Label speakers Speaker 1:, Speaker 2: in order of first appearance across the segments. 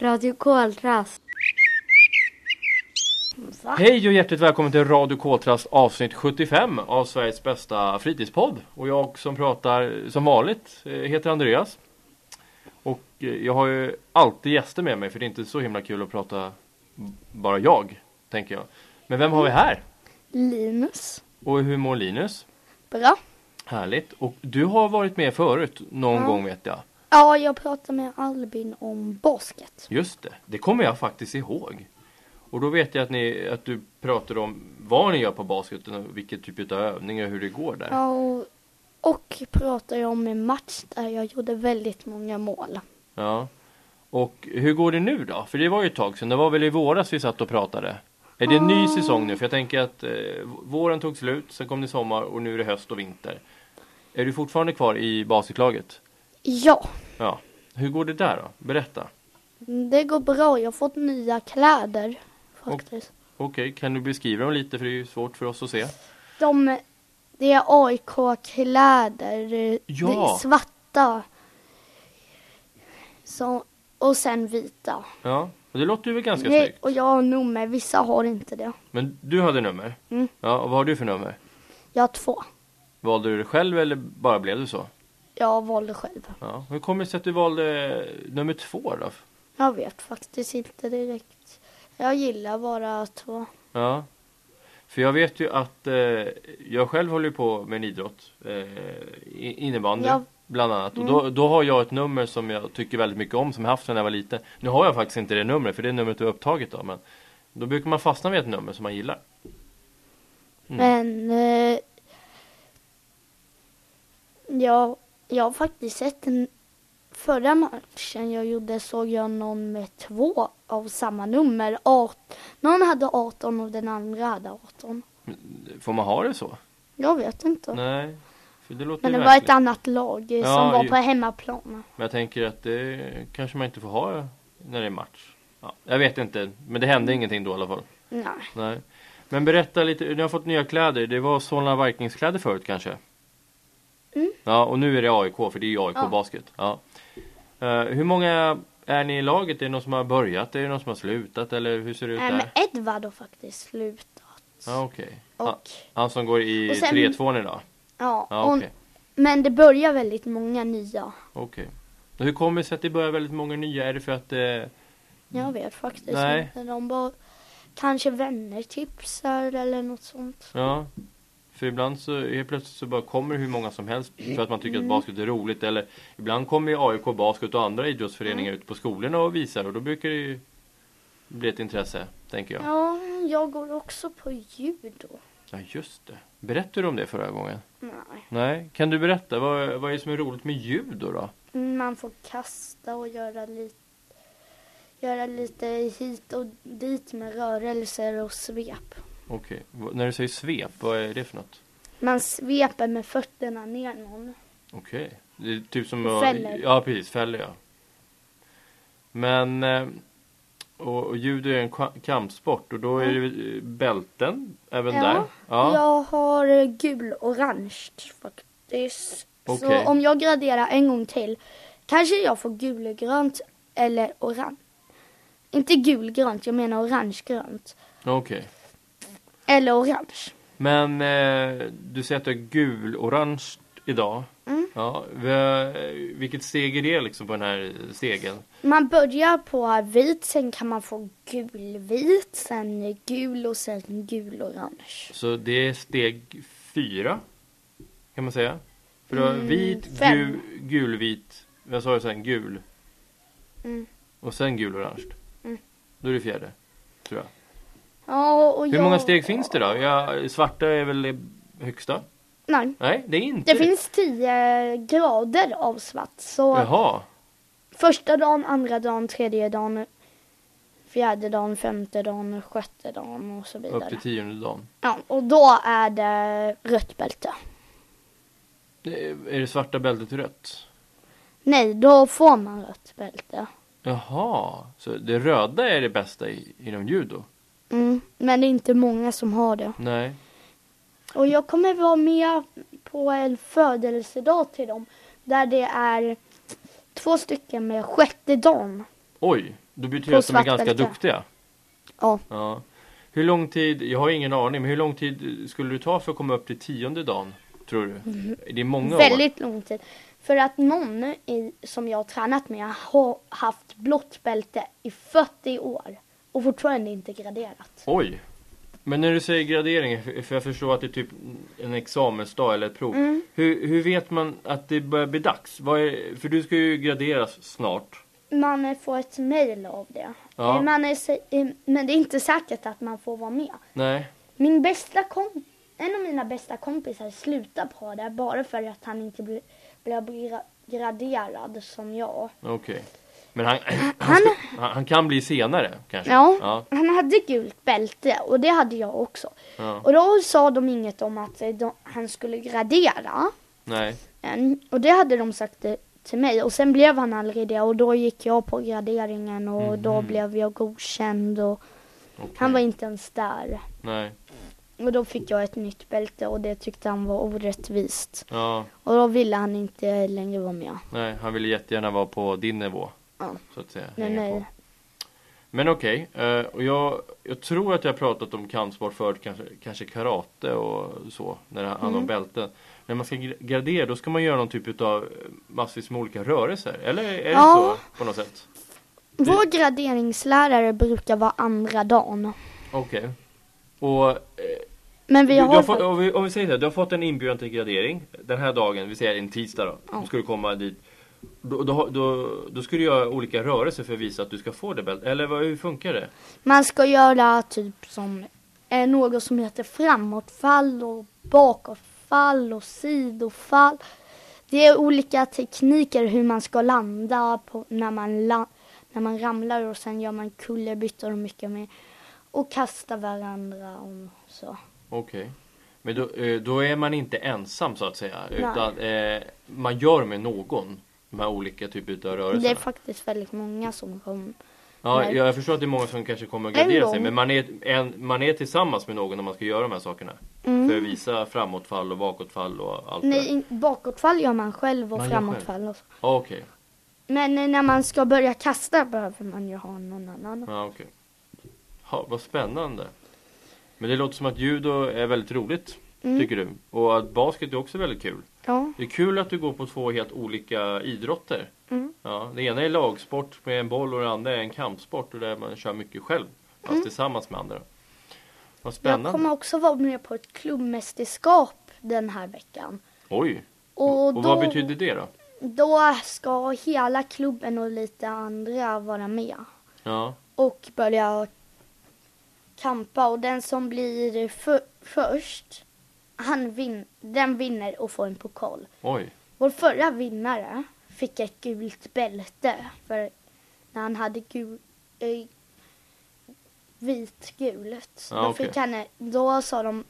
Speaker 1: Radio Koltrast.
Speaker 2: Hej och hjärtligt välkommen till Radio Koltrast avsnitt 75 av Sveriges bästa fritidspodd. Och jag som pratar som vanligt eh, heter Andreas. Och eh, jag har ju alltid gäster med mig för det är inte så himla kul att prata b- bara jag, tänker jag. Men vem har vi här?
Speaker 1: Linus.
Speaker 2: Och hur mår Linus?
Speaker 1: Bra.
Speaker 2: Härligt. Och du har varit med förut någon
Speaker 1: Ja.
Speaker 2: gång vet jag.
Speaker 1: Ja, jag pratade med Albin om basket.
Speaker 2: Just det, det kommer jag faktiskt ihåg. Och då vet jag att, ni, att du pratade om vad ni gör på basketen och vilken typ av övningar och hur det går där.
Speaker 1: Ja, och, och pratade om en match där jag gjorde väldigt många mål.
Speaker 2: Ja. Och hur går det nu då? För det var ju ett tag sedan. Det var väl i våras vi satt och pratade? Är det en ny
Speaker 1: Ah.
Speaker 2: säsong nu? För jag tänker att eh, våren tog slut, sen kom det sommar och nu är det höst och vinter. Är du fortfarande kvar i basketlaget?
Speaker 1: Ja,
Speaker 2: Ja. Hur går det där då? Berätta.
Speaker 1: det går bra. Jag har fått nya kläder faktiskt.
Speaker 2: Okej, kan du beskriva dem lite? För det är ju svårt för oss att se.
Speaker 1: De, det är AIK-kläder. eh,
Speaker 2: Ja.
Speaker 1: Det är svarta. Så, och sen vita.
Speaker 2: Ja, och det låter ju väl ganska
Speaker 1: Nej,
Speaker 2: snyggt.
Speaker 1: och jag har nummer. Vissa har inte det.
Speaker 2: Men du hade nummer?
Speaker 1: Mm.
Speaker 2: Ja, och vad har du för nummer?
Speaker 1: Jag har två.
Speaker 2: Valde du det själv eller bara blev det så?
Speaker 1: Jag valde själv.
Speaker 2: Ja. Hur kommer det sig att du valde eh, nummer två då?
Speaker 1: Jag vet faktiskt inte direkt. Jag gillar bara två.
Speaker 2: Ja. För jag vet ju att eh, jag själv håller ju på med en idrott. Eh, i- innebandy
Speaker 1: Ja. Mm.
Speaker 2: bland annat. Och då, då har jag ett nummer som jag tycker väldigt mycket om som jag haft sedan jag var liten. Nu har jag faktiskt inte det numret för det numret är upptaget då. Men då brukar man fastna vid ett nummer som man gillar. Mm.
Speaker 1: Men eh, jag, jag har faktiskt sett en, förra matchen jag gjorde såg jag någon med två av samma nummer. Art, någon hade 18 och den andra hade 18.
Speaker 2: Får man ha det så?
Speaker 1: Jag vet inte.
Speaker 2: Nej. För det låter
Speaker 1: Men
Speaker 2: ju
Speaker 1: det var ett
Speaker 2: märkligt.
Speaker 1: annat lag eh,
Speaker 2: Ja,
Speaker 1: som var
Speaker 2: ju-
Speaker 1: på hemmaplan.
Speaker 2: Men jag tänker att det kanske man inte får ha när det är match. Ja, jag vet inte. Men det
Speaker 1: Mm.
Speaker 2: hände ingenting då i alla fall.
Speaker 1: Nej.
Speaker 2: Nej. Men berätta lite, ni har fått nya kläder. Det var Solna Vikings-kläder förut kanske?
Speaker 1: Mm.
Speaker 2: Ja, och nu är det AIK, för det är ju AIK
Speaker 1: Ja.
Speaker 2: Basket. Ja. Eh, hur många är ni i laget? Är det någon som har börjat? Är det någon som har slutat? Eller hur ser det ut
Speaker 1: Nej, men
Speaker 2: där?
Speaker 1: Edvard har faktiskt slutat.
Speaker 2: Ja, okej.
Speaker 1: Och,
Speaker 2: Ja, Han som går i
Speaker 1: Och sen-
Speaker 2: 3-2 idag?
Speaker 1: ja,
Speaker 2: Ja,
Speaker 1: och,
Speaker 2: okej.
Speaker 1: Men det börjar väldigt många nya.
Speaker 2: Okej. Och Hur kommer det sig att det börjar väldigt många nya? Är det för att eh,
Speaker 1: Jag vet faktiskt
Speaker 2: Nej.
Speaker 1: inte. De bara kanske vänner tipsar eller något sånt.
Speaker 2: Ja. För ibland så helt plötsligt så bara kommer hur många som helst för att man tycker att basket är roligt. Eller ibland kommer ju AIK Basket och andra idrottsföreningar ut på skolorna och visar och då brukar det ju bli ett intresse, tänker jag. Ja,
Speaker 1: Ja, jag går också på judo.
Speaker 2: just det. Berättade du om det förra gången?
Speaker 1: Nej.
Speaker 2: Nej. Kan du berätta, vad, vad är det som är roligt med judo då?
Speaker 1: Man får kasta och göra lite göra lite hit och dit med rörelser och svep.
Speaker 2: Okej, v- när du säger svep, vad är det för något?
Speaker 1: Man sveper med fötterna ner någon.
Speaker 2: Okej. Det är typ som...
Speaker 1: Och fäller.
Speaker 2: Ja, precis. Fäller, ja. Men... eh, Och, och judo är en ka- kampsport och då är det eh, bälten även
Speaker 1: Ja.
Speaker 2: där?
Speaker 1: Jag har eh, gul-orange faktiskt.
Speaker 2: Okej.
Speaker 1: Så om jag graderar en gång till kanske jag får gulgrönt eller orange. Inte gulgrönt, jag menar orangegrönt.
Speaker 2: Okej.
Speaker 1: Eller orange.
Speaker 2: Men eh, du säger att du är gul-orange idag.
Speaker 1: Mm.
Speaker 2: Ja, vi- vilket steg är det liksom på den här stegen?
Speaker 1: Man börjar på vit, sen kan man få gulvit, sen gul och sen gulorange.
Speaker 2: Så det är steg fyra, kan man säga. För du har
Speaker 1: Mm,
Speaker 2: vit,
Speaker 1: fem.
Speaker 2: gul, gulvit, vad sa du sen? Gul.
Speaker 1: Mm.
Speaker 2: Och sen gul-orange.
Speaker 1: Mm.
Speaker 2: Då är det fjärde, tror jag.
Speaker 1: Ja, och
Speaker 2: Hur
Speaker 1: jag...
Speaker 2: många steg finns det då? Ja, svarta är väl det högsta?
Speaker 1: Nej.
Speaker 2: Nej, det är inte
Speaker 1: Det finns tio grader av svart. Så
Speaker 2: Jaha,
Speaker 1: Första dagen, andra dagen, tredje dagen, fjärde dagen, femte dagen, sjätte dagen och så
Speaker 2: upp
Speaker 1: vidare.
Speaker 2: till tionde dagen.
Speaker 1: Ja, och då är det rött bälte.
Speaker 2: Det Är är det svarta bältet rött?
Speaker 1: Nej, då får man rött bälte.
Speaker 2: Jaha, så det röda är det bästa i, inom judo?
Speaker 1: Mm, men det är inte många som har det.
Speaker 2: Nej.
Speaker 1: Och jag kommer vara med på en födelsedag till dem där det är två stycken med sjätte dagen.
Speaker 2: Oj, Då betyder det att de är ganska
Speaker 1: svartbälte.
Speaker 2: duktiga.
Speaker 1: Ja.
Speaker 2: ja. Hur lång tid, jag har ingen aning, men hur lång tid skulle du ta för att komma upp till tionde dagen? Tror du? Det är många år.
Speaker 1: Mhm. Väldigt lång tid. För att någon i, som jag har tränat med har haft blått bälte i 40 år och fortfarande inte graderat.
Speaker 2: Oj! Men när du säger gradering, för jag förstår att det är typ en examensdag eller ett prov.
Speaker 1: Mm.
Speaker 2: Hur, hur vet man att det börjar bli dags? Vad är, för du ska ju graderas snart.
Speaker 1: Man får ett mejl av det.
Speaker 2: Ja.
Speaker 1: Man är, sä- eh, men det är inte säkert att man får vara med.
Speaker 2: Nej.
Speaker 1: Min bästa kom, en av mina bästa kompisar slutar på det bara för att han inte bli- blev gra- graderad som jag.
Speaker 2: Okej. Men han, han,
Speaker 1: Han-
Speaker 2: ska, han, han kan bli senare kanske?
Speaker 1: Ja,
Speaker 2: Ja.
Speaker 1: han hade gult bälte och det hade jag också.
Speaker 2: ja.
Speaker 1: Och då sa de inget om att eh, de, han skulle gradera.
Speaker 2: Nej.
Speaker 1: en. Och det hade de sagt det till mig. Och sen blev han aldrig det och då gick jag på graderingen och då
Speaker 2: Mhm.
Speaker 1: blev jag godkänd och
Speaker 2: okej.
Speaker 1: han var inte ens där.
Speaker 2: Nej.
Speaker 1: Och då fick jag ett nytt bälte och det tyckte han var orättvist.
Speaker 2: Ja.
Speaker 1: Och då ville han inte längre vara med.
Speaker 2: Nej, han ville jättegärna vara på din nivå.
Speaker 1: Ja.
Speaker 2: Så att säga.
Speaker 1: Nej,
Speaker 2: hänga
Speaker 1: nej.
Speaker 2: på. Men okej, eh, och jag, jag tror att jag har pratat om kampsport förut, kanske, kanske karate och så, när det handlar om
Speaker 1: Mm.
Speaker 2: bälten. När man ska gra- gradera, då ska man göra någon typ av massvis med olika rörelser, eller är det
Speaker 1: Ja.
Speaker 2: så på något sätt?
Speaker 1: Vår graderingslärare brukar vara andra dagen.
Speaker 2: Okej. Och eh,
Speaker 1: Men vi
Speaker 2: du, du
Speaker 1: har...
Speaker 2: har fått, om, vi, om vi säger så här, du har fått en inbjudan till gradering den här dagen, vi säger en tisdag då,
Speaker 1: Ja.
Speaker 2: då ska du komma dit. Då, då, då, då ska du göra olika rörelser för att visa att du ska få det bältet, eller vad, hur funkar det?
Speaker 1: Man ska göra typ som eh, något som heter framåtfall och bakåtfall och sidofall. Det är olika tekniker hur man ska landa på, när, man la, när man ramlar och sen gör man kullerbyttor och mycket mer. Och kasta varandra och så.
Speaker 2: Okej. Men då, eh, då är man inte ensam så att säga. Utan eh, man gör med någon. De här olika typ typer
Speaker 1: Det är
Speaker 2: av rörelser.
Speaker 1: faktiskt väldigt många som kommer.
Speaker 2: Ja,
Speaker 1: nej.
Speaker 2: jag förstår att det är många som kanske kommer att
Speaker 1: En
Speaker 2: gradera sig.
Speaker 1: gång.
Speaker 2: Men man är, en, man är tillsammans med någon när man ska göra de här sakerna. För att
Speaker 1: Mm.
Speaker 2: visa framåtfall och bakåtfall och allt det
Speaker 1: Nej,
Speaker 2: där.
Speaker 1: in- bakåtfall gör man själv och
Speaker 2: Man gör själv.
Speaker 1: framåtfall och så.
Speaker 2: Ja, Okej.
Speaker 1: Men eh, när man ska börja kasta behöver man ju ha någon annan.
Speaker 2: Ja, okej. Ha, vad spännande. Men det låter som att judo är väldigt roligt.
Speaker 1: Mm.
Speaker 2: Tycker du? Och att basket är också väldigt kul.
Speaker 1: Ja.
Speaker 2: Det är kul att du går på två helt olika idrotter.
Speaker 1: Mm.
Speaker 2: Ja, det ena är lagsport med en boll och det andra är en kampsport och där man kör mycket själv. Fast tillsammans med andra. Vad spännande.
Speaker 1: Mm. Jag kommer också vara med på ett klubbmästerskap den här veckan.
Speaker 2: Oj!
Speaker 1: Och,
Speaker 2: Och
Speaker 1: då,
Speaker 2: vad betyder det då?
Speaker 1: då ska hela klubben och lite andra vara med
Speaker 2: Ja,
Speaker 1: och börja kampa och den som blir för, först, han vin, den vinner och får en pokal.
Speaker 2: oj.
Speaker 1: Vår förra vinnare fick ett gult bälte för när han hade gul, eh, vitgult.
Speaker 2: Ja,
Speaker 1: då,
Speaker 2: okej.
Speaker 1: fick han, då sa de,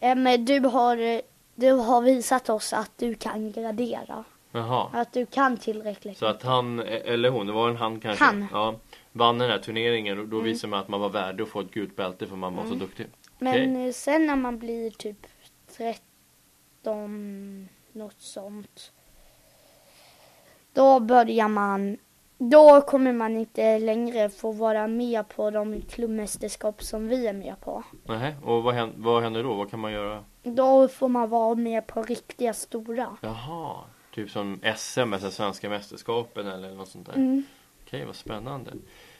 Speaker 1: eh, men du har, eh, du har visat oss att du kan gradera.
Speaker 2: Jaha.
Speaker 1: Att du kan tillräckligt.
Speaker 2: Så att han, eller hon, det var en han kanske?
Speaker 1: Han. Mm.
Speaker 2: Ja, vann den här turneringen och då visade man att man var värd att få ett gult bälte för man var så duktig.
Speaker 1: men
Speaker 2: okej.
Speaker 1: eh, sen när man blir typ 13, något sånt. Då börjar man, då kommer man inte längre få vara med på de klubbmästerskap som vi är med på.
Speaker 2: Nähä, och vad händer, vad händer då? Vad kan man göra?
Speaker 1: Då får man vara med på riktiga stora.
Speaker 2: Jaha, typ som SM, alltså svenska mästerskapen eller något sånt där.
Speaker 1: Mm.
Speaker 2: Okej, vad spännande.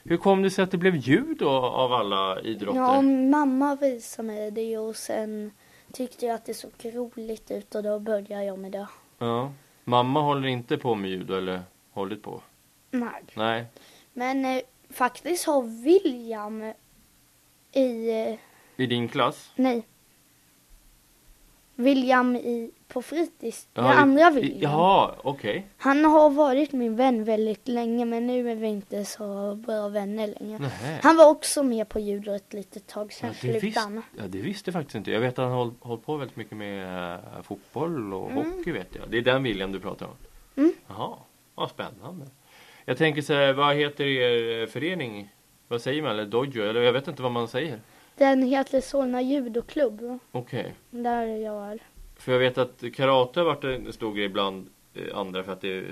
Speaker 2: Hur kom det sig att det blev judo av alla idrotter?
Speaker 1: Ja, mamma visade mig det och sen tyckte jag att det såg roligt ut och då började jag med det.
Speaker 2: Ja. Mamma håller inte på med judo eller hållit på?
Speaker 1: Nej.
Speaker 2: Nej.
Speaker 1: Men eh, faktiskt har William i, eh,
Speaker 2: I din klass?
Speaker 1: nej. William i, på fritids, den
Speaker 2: i-
Speaker 1: andra
Speaker 2: i-
Speaker 1: William.
Speaker 2: Jaha, okej.
Speaker 1: Han har varit min vän väldigt länge men nu är vi inte så bra vänner längre.
Speaker 2: Nähä.
Speaker 1: Han var också med på judo ett litet tag, sen
Speaker 2: Ja, det,
Speaker 1: slutade
Speaker 2: visst,
Speaker 1: han.
Speaker 2: ja, det visste jag faktiskt inte. Jag vet att han har hållit på väldigt mycket med eh, fotboll och
Speaker 1: Mm.
Speaker 2: hockey vet jag. Det är den William du pratar om?
Speaker 1: Mm.
Speaker 2: Jaha, vad spännande. Jag tänker så här, vad heter er eh, förening? Vad säger man? Eller dojo? Eller jag vet inte vad man säger.
Speaker 1: Den heter Solna judoklubb,
Speaker 2: Okej.
Speaker 1: där jag är.
Speaker 2: För jag vet att karate har varit en stor grej bland eh, andra för att det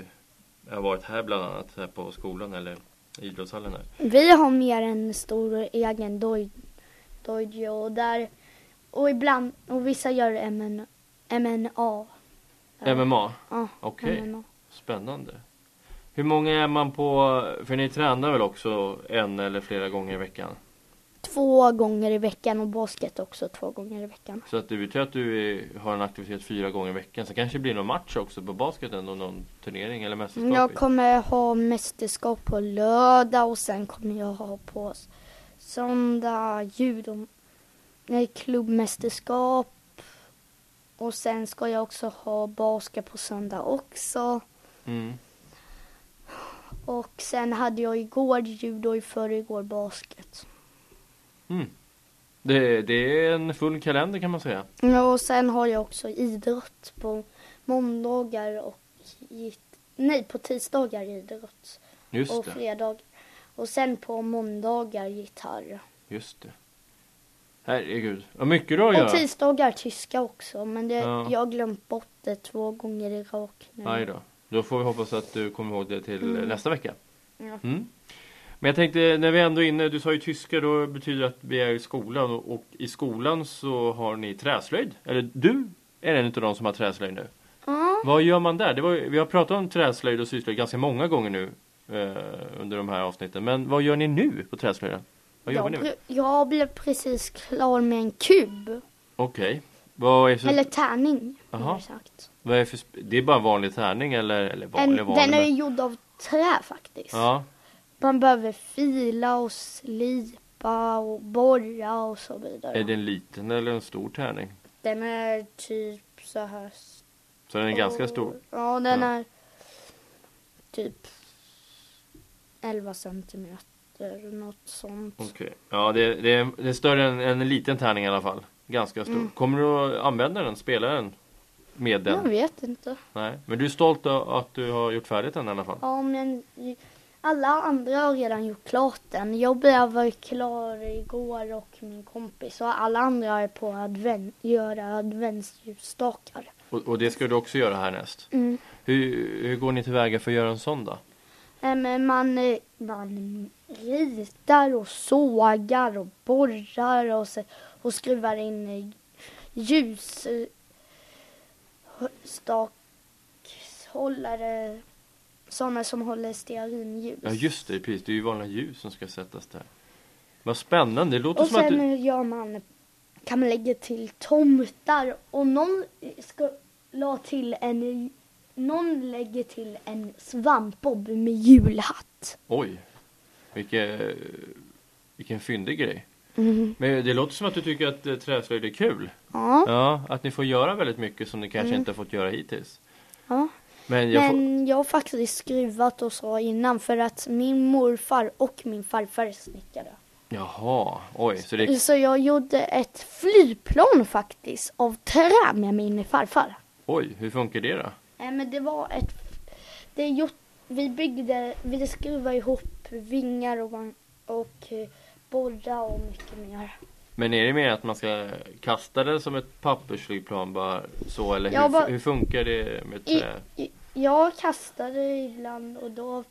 Speaker 2: har varit här bland annat här på skolan eller i idrottshallen där.
Speaker 1: Vi har mer en stor egen doj- dojo och där och ibland och vissa gör MN, MNA.
Speaker 2: MMA,
Speaker 1: Ja,
Speaker 2: okej.
Speaker 1: MNA.
Speaker 2: Spännande. Hur många är man på, för ni tränar väl också en eller flera gånger i veckan?
Speaker 1: Två gånger i veckan och basket också två gånger i veckan.
Speaker 2: Så att det betyder att du är- har en aktivitet fyra gånger i veckan. Så kanske det blir någon match också på basketen och någon turnering eller mästerskap.
Speaker 1: Jag kommer ha mästerskap på lördag och sen kommer jag ha på s- söndag judo, nej, klubbmästerskap. Och sen ska jag också ha basket på söndag också.
Speaker 2: Mm.
Speaker 1: Och sen hade jag igår judo, i förrgår basket.
Speaker 2: Mm. Det, det är en full kalender kan man säga.
Speaker 1: Ja, Och sen har jag också idrott på måndagar och gitt, nej på tisdagar idrott och
Speaker 2: Just det.
Speaker 1: fredag. Och sen på måndagar gitarr.
Speaker 2: Just det. Herregud. Vad mycket du har att
Speaker 1: Och
Speaker 2: göra.
Speaker 1: tisdagar tyska också men det,
Speaker 2: Ja.
Speaker 1: jag har glömt bort det två gånger i rak nu.
Speaker 2: Aj då. Då får vi hoppas att du kommer ihåg det till
Speaker 1: Mm.
Speaker 2: nästa vecka.
Speaker 1: Ja.
Speaker 2: Mm. Men jag tänkte, när vi ändå är inne, du sa ju tyska, då betyder det att vi är i skolan och, och i skolan så har ni träslöjd. Eller du är en av de som har träslöjd nu.
Speaker 1: Ja,
Speaker 2: Vad gör man där? Det var, ju- vi har pratat om träslöjd och syslöjd ganska många gånger nu eh, under de här avsnitten. Men vad gör ni nu på träslöjden? Vad jobbar
Speaker 1: jag,
Speaker 2: ni med?
Speaker 1: br- jag blev precis klar med en kub.
Speaker 2: Okej. Vad är för,
Speaker 1: Eller tärning.
Speaker 2: Jaha.
Speaker 1: har jag sagt.
Speaker 2: vad är för, sp- det är bara vanlig tärning eller, eller
Speaker 1: En,
Speaker 2: vanlig, vanlig
Speaker 1: den är
Speaker 2: men-
Speaker 1: ju gjord av trä faktiskt.
Speaker 2: Ja,
Speaker 1: Man behöver fila och slipa och borra och så vidare.
Speaker 2: är det en liten eller en stor tärning?
Speaker 1: Den är typ så här stor.
Speaker 2: Så den är ganska stor.
Speaker 1: Ja, den
Speaker 2: Ja.
Speaker 1: är typ 11 centimeter, något sånt.
Speaker 2: Okej. Ja, det, det, är- det är större än, än en liten tärning i alla fall. Ganska stor.
Speaker 1: Mm.
Speaker 2: Kommer du att använda den? Spela den? Med den?
Speaker 1: Jag vet inte.
Speaker 2: Nej. Men du är stolt ö- att du har gjort färdigt den i alla fall?
Speaker 1: Ja, men alla andra har redan gjort klart den. Jag blev väl klar igår och min kompis och alla andra är på att adven- göra adventsljusstakar.
Speaker 2: Och, och det ska du också göra härnäst?
Speaker 1: Mm.
Speaker 2: Hur, hur går ni tillväga för att göra en sån då?
Speaker 1: Nej, men man, eh, man ritar och sågar och borrar och, se- och skruvar in eh, ljus eh, stakhållare. Sådana som håller stearinljus.
Speaker 2: Ja just det, precis. Det är ju vanliga ljus som ska sättas där. Vad spännande. Det låter
Speaker 1: Och
Speaker 2: som att
Speaker 1: sen
Speaker 2: du...
Speaker 1: eh, gör man, kan man lägga till tomtar och någon ska la till en, någon lägger till en svampbob med julhatt.
Speaker 2: Oj. Vilken, vilken fyndig grej. Men det låter som att du tycker att eh, träslöjd är kul.
Speaker 1: Ja,
Speaker 2: Ja, att ni får göra väldigt mycket som ni kanske inte har fått göra hittills.
Speaker 1: Mm. ja.
Speaker 2: Men jag får...
Speaker 1: Men jag har faktiskt skruvat och så innan för att min morfar och min farfar är snickare.
Speaker 2: Jaha, oj. Så det...
Speaker 1: Så jag gjorde ett flygplan faktiskt av trä med min farfar.
Speaker 2: Oj, hur funkar det då?
Speaker 1: Nej men det var ett... Det är gjort, vi byggde, vi skruvade ihop vingar och, man- och eh, borra och mycket mer.
Speaker 2: Men är det mer att man ska kasta det som ett pappersflygplan bara så? Eller hur,
Speaker 1: Jag bara-
Speaker 2: hur funkar det med
Speaker 1: I,
Speaker 2: trä?
Speaker 1: i, jag kastade ibland och då,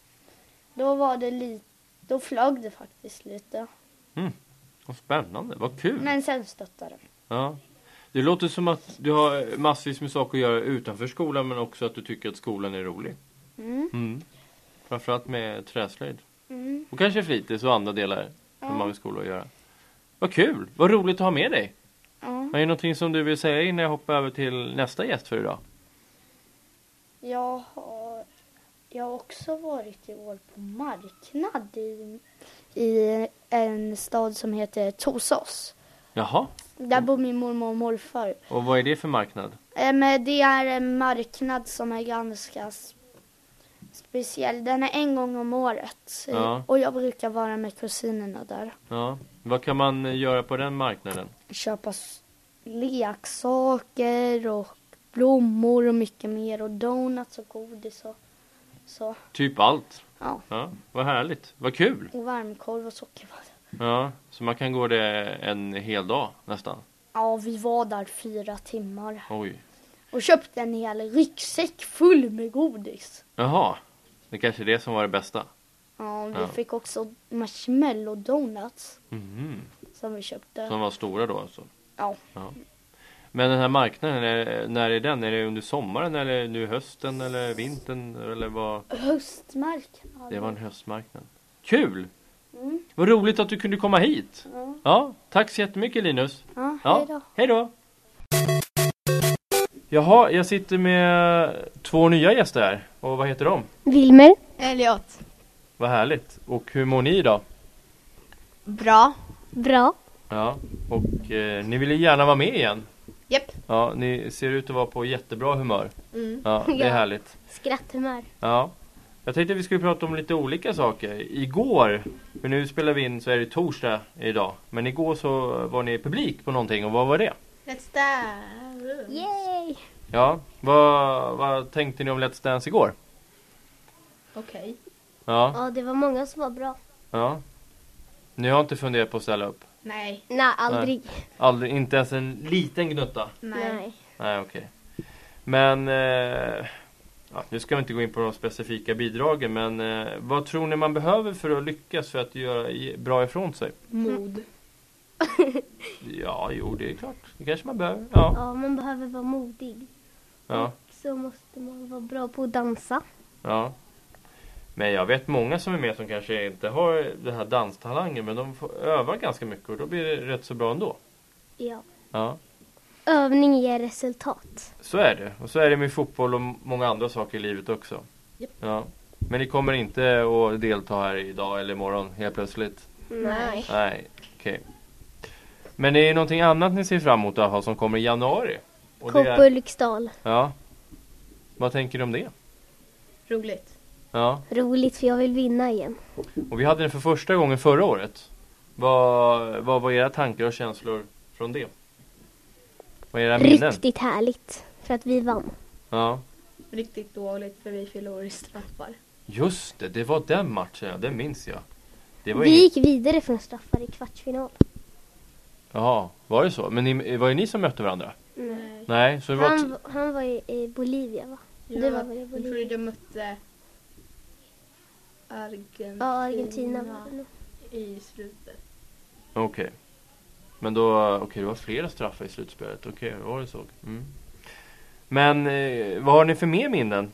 Speaker 1: då var det lite, då flög det faktiskt lite.
Speaker 2: Vad spännande, vad kul.
Speaker 1: Men sen stöttade det.
Speaker 2: Ja. Det låter som att du har massvis med saker att göra utanför skolan men också att du tycker att skolan är rolig.
Speaker 1: Mm.
Speaker 2: Mm. Framförallt med träslöjd.
Speaker 1: Mm.
Speaker 2: Och kanske fritids och andra delar som
Speaker 1: Ja.
Speaker 2: man vill skola att göra. Vad kul! Vad roligt att ha med dig!
Speaker 1: Ja.
Speaker 2: Är det någonting som du vill säga innan jag hoppar över till nästa gäst för idag?
Speaker 1: Jag har, jag har också varit i år på marknad i, i en stad som heter Torsås.
Speaker 2: Jaha,
Speaker 1: Där bor min mormor och morfar.
Speaker 2: och vad är det för marknad?
Speaker 1: Eh, Men det är en marknad som är ganska s- speciell. Den är en gång om året. Eh,
Speaker 2: Ja.
Speaker 1: Och jag brukar vara med kusinerna där.
Speaker 2: Ja. Vad kan man eh, göra på den marknaden?
Speaker 1: Köpa s- leksaker och blommor och mycket mer. Och donuts och godis och så.
Speaker 2: Typ allt.
Speaker 1: Ja.
Speaker 2: Ja, vad härligt, vad kul!
Speaker 1: Och varmkorv och sockervadd.
Speaker 2: Ja, så man kan gå det en hel dag nästan.
Speaker 1: Ja, vi var där fyra timmar.
Speaker 2: Oj.
Speaker 1: Och köpte en hel ryggsäck full med godis.
Speaker 2: Jaha, det kanske är det som var det bästa.
Speaker 1: Ja, vi
Speaker 2: Ja.
Speaker 1: fick också marshmallow donuts
Speaker 2: Mhm.
Speaker 1: som vi köpte.
Speaker 2: Som var stora då alltså?
Speaker 1: Ja.
Speaker 2: Men den här marknaden, är, när är den? Är det under sommaren eller nu hösten eller vintern? Eller vad?
Speaker 1: Höstmarknad.
Speaker 2: Det var en höstmarknad. Kul!
Speaker 1: Mm.
Speaker 2: Vad roligt att du kunde komma hit!
Speaker 1: Ja.
Speaker 2: Ja, tack så jättemycket Linus!
Speaker 1: Ja,
Speaker 2: Ja.
Speaker 1: hej då.
Speaker 2: Hej då! Jaha, jag sitter med två nya gäster här. Och vad heter de?
Speaker 1: Wilmer.
Speaker 3: Elliot.
Speaker 2: Vad härligt! Och hur mår ni idag?
Speaker 3: Bra.
Speaker 1: Bra.
Speaker 2: Ja, och eh, ni ville gärna vara med igen.
Speaker 3: Japp.
Speaker 2: Ja, ni ser ut att vara på jättebra humör.
Speaker 3: Mm.
Speaker 2: Ja, det är
Speaker 1: Ja.
Speaker 2: härligt.
Speaker 1: Skratthumör.
Speaker 2: Ja. Jag tänkte vi skulle prata om lite olika saker. Igår, men nu spelar vi in så är det torsdag idag. Men igår så var ni publik på någonting och vad var det?
Speaker 3: Let's dance.
Speaker 1: Yay!
Speaker 2: Ja, vad, vad tänkte ni om Let's Dance igår?
Speaker 3: Okej.
Speaker 2: Ja,
Speaker 4: Ja, det var många som var bra.
Speaker 2: ja. Ni har inte funderat på att ställa upp?
Speaker 3: Nej.
Speaker 4: Nej, aldrig.
Speaker 2: Aldrig, inte ens en liten gnutta?
Speaker 3: Nej.
Speaker 2: Nej, okej. Men, eh, ja, nu ska vi inte gå in på de specifika bidragen, men eh, vad tror ni man behöver för att lyckas för att göra ge- bra ifrån sig?
Speaker 4: Mm.
Speaker 3: Mod.
Speaker 2: Ja, jo det är klart. Det kanske man behöver. Ja.
Speaker 4: Ja, man behöver vara modig.
Speaker 2: Ja.
Speaker 4: Så måste man vara bra på att dansa.
Speaker 2: ja. Men jag vet många som är med som kanske inte har den här danstalangen men de får öva ganska mycket och då blir det rätt så bra ändå.
Speaker 4: Ja.
Speaker 2: Ja.
Speaker 4: Övning ger resultat.
Speaker 2: Så är det. Och så är det med fotboll och många andra saker i livet också.
Speaker 3: Japp.
Speaker 2: Ja. Men ni kommer inte att delta här idag eller imorgon helt plötsligt?
Speaker 3: Nej.
Speaker 2: Nej, okej. Men det är någonting annat ni ser fram emot att ha som kommer i januari? Och det
Speaker 4: Kopp
Speaker 2: är,
Speaker 4: Ulriksdal.
Speaker 2: ja. Vad tänker ni om det?
Speaker 3: Roligt.
Speaker 2: Ja.
Speaker 4: Roligt för jag vill vinna igen.
Speaker 2: Och vi hade den för första gången förra året. Vad, vad var era tankar och känslor från det? Vad är era minnen?
Speaker 4: Riktigt härligt. För att vi vann.
Speaker 2: Ja.
Speaker 3: Riktigt dåligt för vi förlorade i straffar.
Speaker 2: Just det, det var den matchen, ja, den minns jag. Det var
Speaker 4: Vi
Speaker 2: inget...
Speaker 4: gick vidare från straffar i kvartsfinal.
Speaker 2: Jaha, var det så? Men ni, var det ni som mötte varandra?
Speaker 4: Mm.
Speaker 3: Nej.
Speaker 2: Nej, så det var...
Speaker 4: Han,
Speaker 2: T-
Speaker 4: var- han var i, i Bolivia va? Det var väl i
Speaker 3: Jag trodde
Speaker 4: Bolivia?
Speaker 3: jag mötte Argentina,
Speaker 4: Ja, Argentina var det nog.
Speaker 3: i slutet.
Speaker 2: Okej. Men då, okej det var flera straffar i slutspelet. Okej, det var det så? Mm. Men eh, vad har ni för mer minnen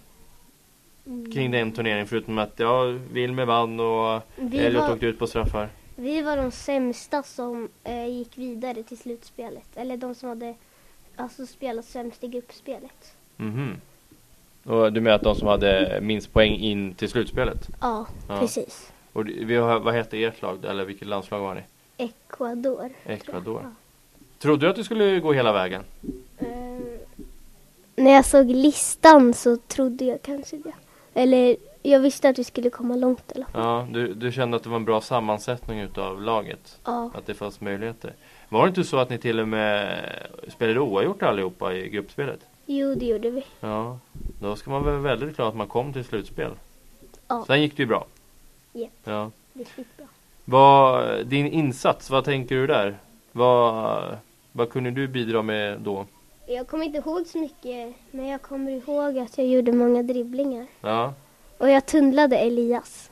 Speaker 2: kring den turneringen? Förutom att ja, Wilmer vann och
Speaker 4: Vi
Speaker 2: Elliot
Speaker 4: var,
Speaker 2: åkte ut på straffar.
Speaker 4: vi var de sämsta som eh, gick vidare till slutspelet. Eller de som hade alltså, spelat sämst i gruppspelet.
Speaker 2: Mhm. Och du menar att de som hade minst poäng in till slutspelet?
Speaker 4: Ja,
Speaker 2: Ja.
Speaker 4: precis.
Speaker 2: Och det- vi har, vad hette ert lag eller vilket landslag var ni?
Speaker 4: Ecuador.
Speaker 2: Ecuador. Trodde du att du skulle gå hela vägen?
Speaker 4: Ehm, när jag såg listan så trodde jag kanske det. Eller jag visste att vi skulle komma långt eller?
Speaker 2: Ja, du, du kände att det var en bra sammansättning utav laget?
Speaker 4: Ja,
Speaker 2: Att det fanns möjligheter? Var det inte så att ni till och med spelade oavgjort allihopa i gruppspelet?
Speaker 4: jo det gjorde vi.
Speaker 2: Ja, då ska man väl vara väldigt glad att man kom till slutspel.
Speaker 4: Ja.
Speaker 2: Sen gick det ju bra.
Speaker 4: Japp.
Speaker 2: Ja.
Speaker 4: Det gick bra.
Speaker 2: Vad, din insats, vad tänker du där? Vad, vad kunde du bidra med då?
Speaker 4: Jag kommer inte ihåg så mycket men jag kommer ihåg att jag gjorde många dribblingar.
Speaker 2: Ja,
Speaker 4: Och jag tunnlade Elias.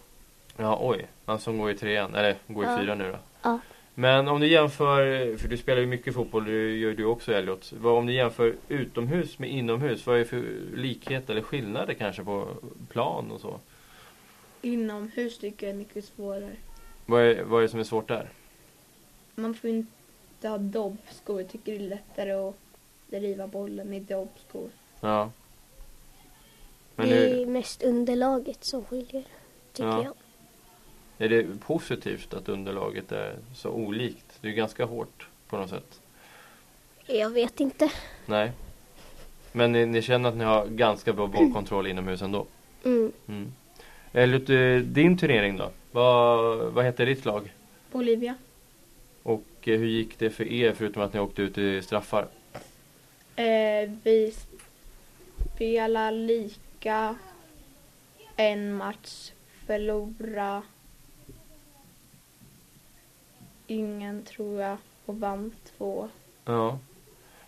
Speaker 2: ja oj. Han som går i trean, eller går i
Speaker 4: Ja.
Speaker 2: fyran nu då.
Speaker 4: Ja.
Speaker 2: Men om du jämför, för du spelar ju mycket fotboll, det gör ju du också Elliot. Vad, om du jämför utomhus med inomhus, vad är det för likhet eller skillnader kanske på plan och så?
Speaker 3: Inomhus tycker jag är mycket svårare.
Speaker 2: Vad är, vad är det som är svårt där?
Speaker 3: Man får inte ha dobbskor. Jag tycker det är lättare att driva bollen i dobbskor.
Speaker 2: Ja. Men
Speaker 4: det
Speaker 2: nu,
Speaker 4: är mest underlaget som skiljer, tycker
Speaker 2: Ja.
Speaker 4: jag.
Speaker 2: är det positivt att underlaget är så olikt? Det är ju ganska hårt på något sätt.
Speaker 4: Jag vet inte.
Speaker 2: Nej. Men ni, ni känner att ni har ganska bra bollkontroll inomhus ändå?
Speaker 4: Mm.
Speaker 2: Mm. Elliot, eh, din turnering då? Vad, vad hette ditt lag?
Speaker 3: Bolivia.
Speaker 2: Och eh, hur gick det för er förutom att ni åkte ut i straffar?
Speaker 3: Eh, vi spelar lika en match, förlora ingen tror jag och vann två.
Speaker 2: Ja.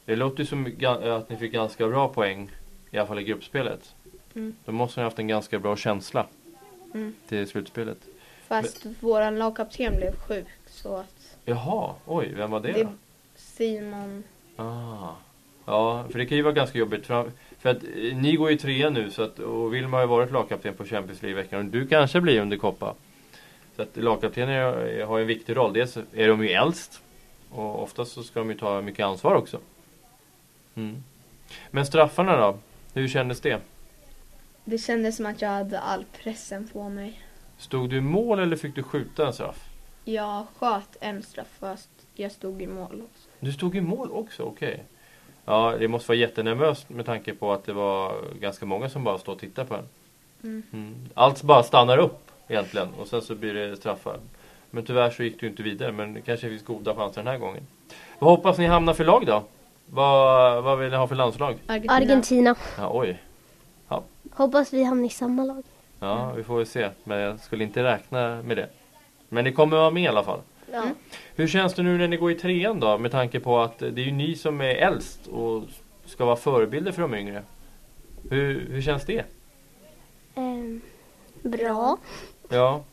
Speaker 2: Det låter ju som ga- att ni fick ganska bra poäng, i alla fall i gruppspelet.
Speaker 3: Mm.
Speaker 2: Då måste ni ha haft en ganska bra känsla
Speaker 3: Mm.
Speaker 2: till slutspelet.
Speaker 3: Fast våran lagkapten blev sjuk så att
Speaker 2: Jaha, oj, vem var det,
Speaker 3: det
Speaker 2: då?
Speaker 3: Simon
Speaker 2: Ah. Ja, för det kan ju vara ganska jobbigt. Fram, för att eh, ni går ju trea nu så att, och Wilma har ju varit lagkapten på Champions League i veckan och du kanske blir under koppa. Så att lagkaptenen är- eh, har ju en viktig roll. Dels är de ju äldst och oftast så ska de ju ta mycket ansvar också. Mm. Men straffarna då? Hur kändes det?
Speaker 3: Det kändes som att jag hade all pressen på mig.
Speaker 2: Stod du i mål eller fick du skjuta en straff?
Speaker 3: Jag sköt en straff fast jag stod i mål också.
Speaker 2: Du stod i mål också, okej. Ja, det måste vara jättenervöst med tanke på att det var ganska många som bara står och tittar på en.
Speaker 3: Mm.
Speaker 2: Allt bara stannar upp egentligen och sen så blir det straffar. Men tyvärr så gick du inte vidare men det kanske finns goda chanser den här gången. Vad hoppas ni hamnar för lag då? Vad, vad vill ni ha för landslag?
Speaker 3: Argentina.
Speaker 4: Argentina.
Speaker 2: Ja, oj.
Speaker 4: Hoppas vi hamnar i samma lag.
Speaker 2: Ja, vi får väl se. Men jag skulle inte räkna med det. Men ni kommer vara med i alla fall.
Speaker 4: Ja.
Speaker 2: Hur känns det nu när ni går i trean då? Med tanke på att det är ju ni som är äldst och ska vara förebilder för de yngre. Hur, hur känns det?
Speaker 4: Ehm, bra.
Speaker 2: Ja.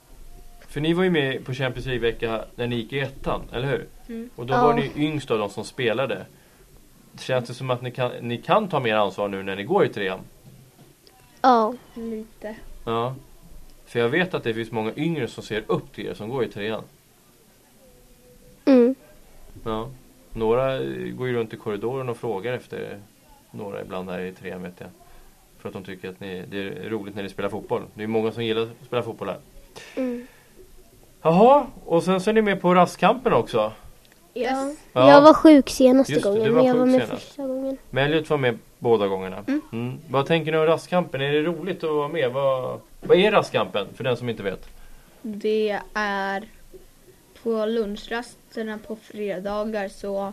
Speaker 2: För ni var ju med på Champions League-vecka när ni gick i ettan, eller hur?
Speaker 3: Mm.
Speaker 2: Och då
Speaker 4: Ja.
Speaker 2: var ni yngst av de som spelade. Känns det som att ni kan, ni kan ta mer ansvar nu när ni går i trean?
Speaker 4: Ja.
Speaker 3: Lite.
Speaker 2: Ja. För jag vet att det finns många yngre som ser upp till er som går i trean.
Speaker 4: Mm.
Speaker 2: Ja. Några eh, går ju runt i korridoren och frågar efter er. några ibland här i trean vet jag. För att de tycker att ni, det är roligt när ni spelar fotboll. Det är många som gillar att spela fotboll här.
Speaker 4: Mm.
Speaker 2: Jaha, och sen så är ni med på rastkampen också.
Speaker 3: Yes.
Speaker 4: Ja. Jag var sjuk senaste
Speaker 2: Just det, du
Speaker 4: gången,
Speaker 2: var
Speaker 4: men jag
Speaker 2: sjuk
Speaker 4: var med
Speaker 2: senast.
Speaker 4: första gången.
Speaker 2: Mellut var med båda gångerna.
Speaker 3: Mm.
Speaker 2: Vad tänker ni om rastkampen? Är det roligt att vara med? Vad, vad är rastkampen för den som inte vet?
Speaker 3: Det är på lunchrasterna på fredagar så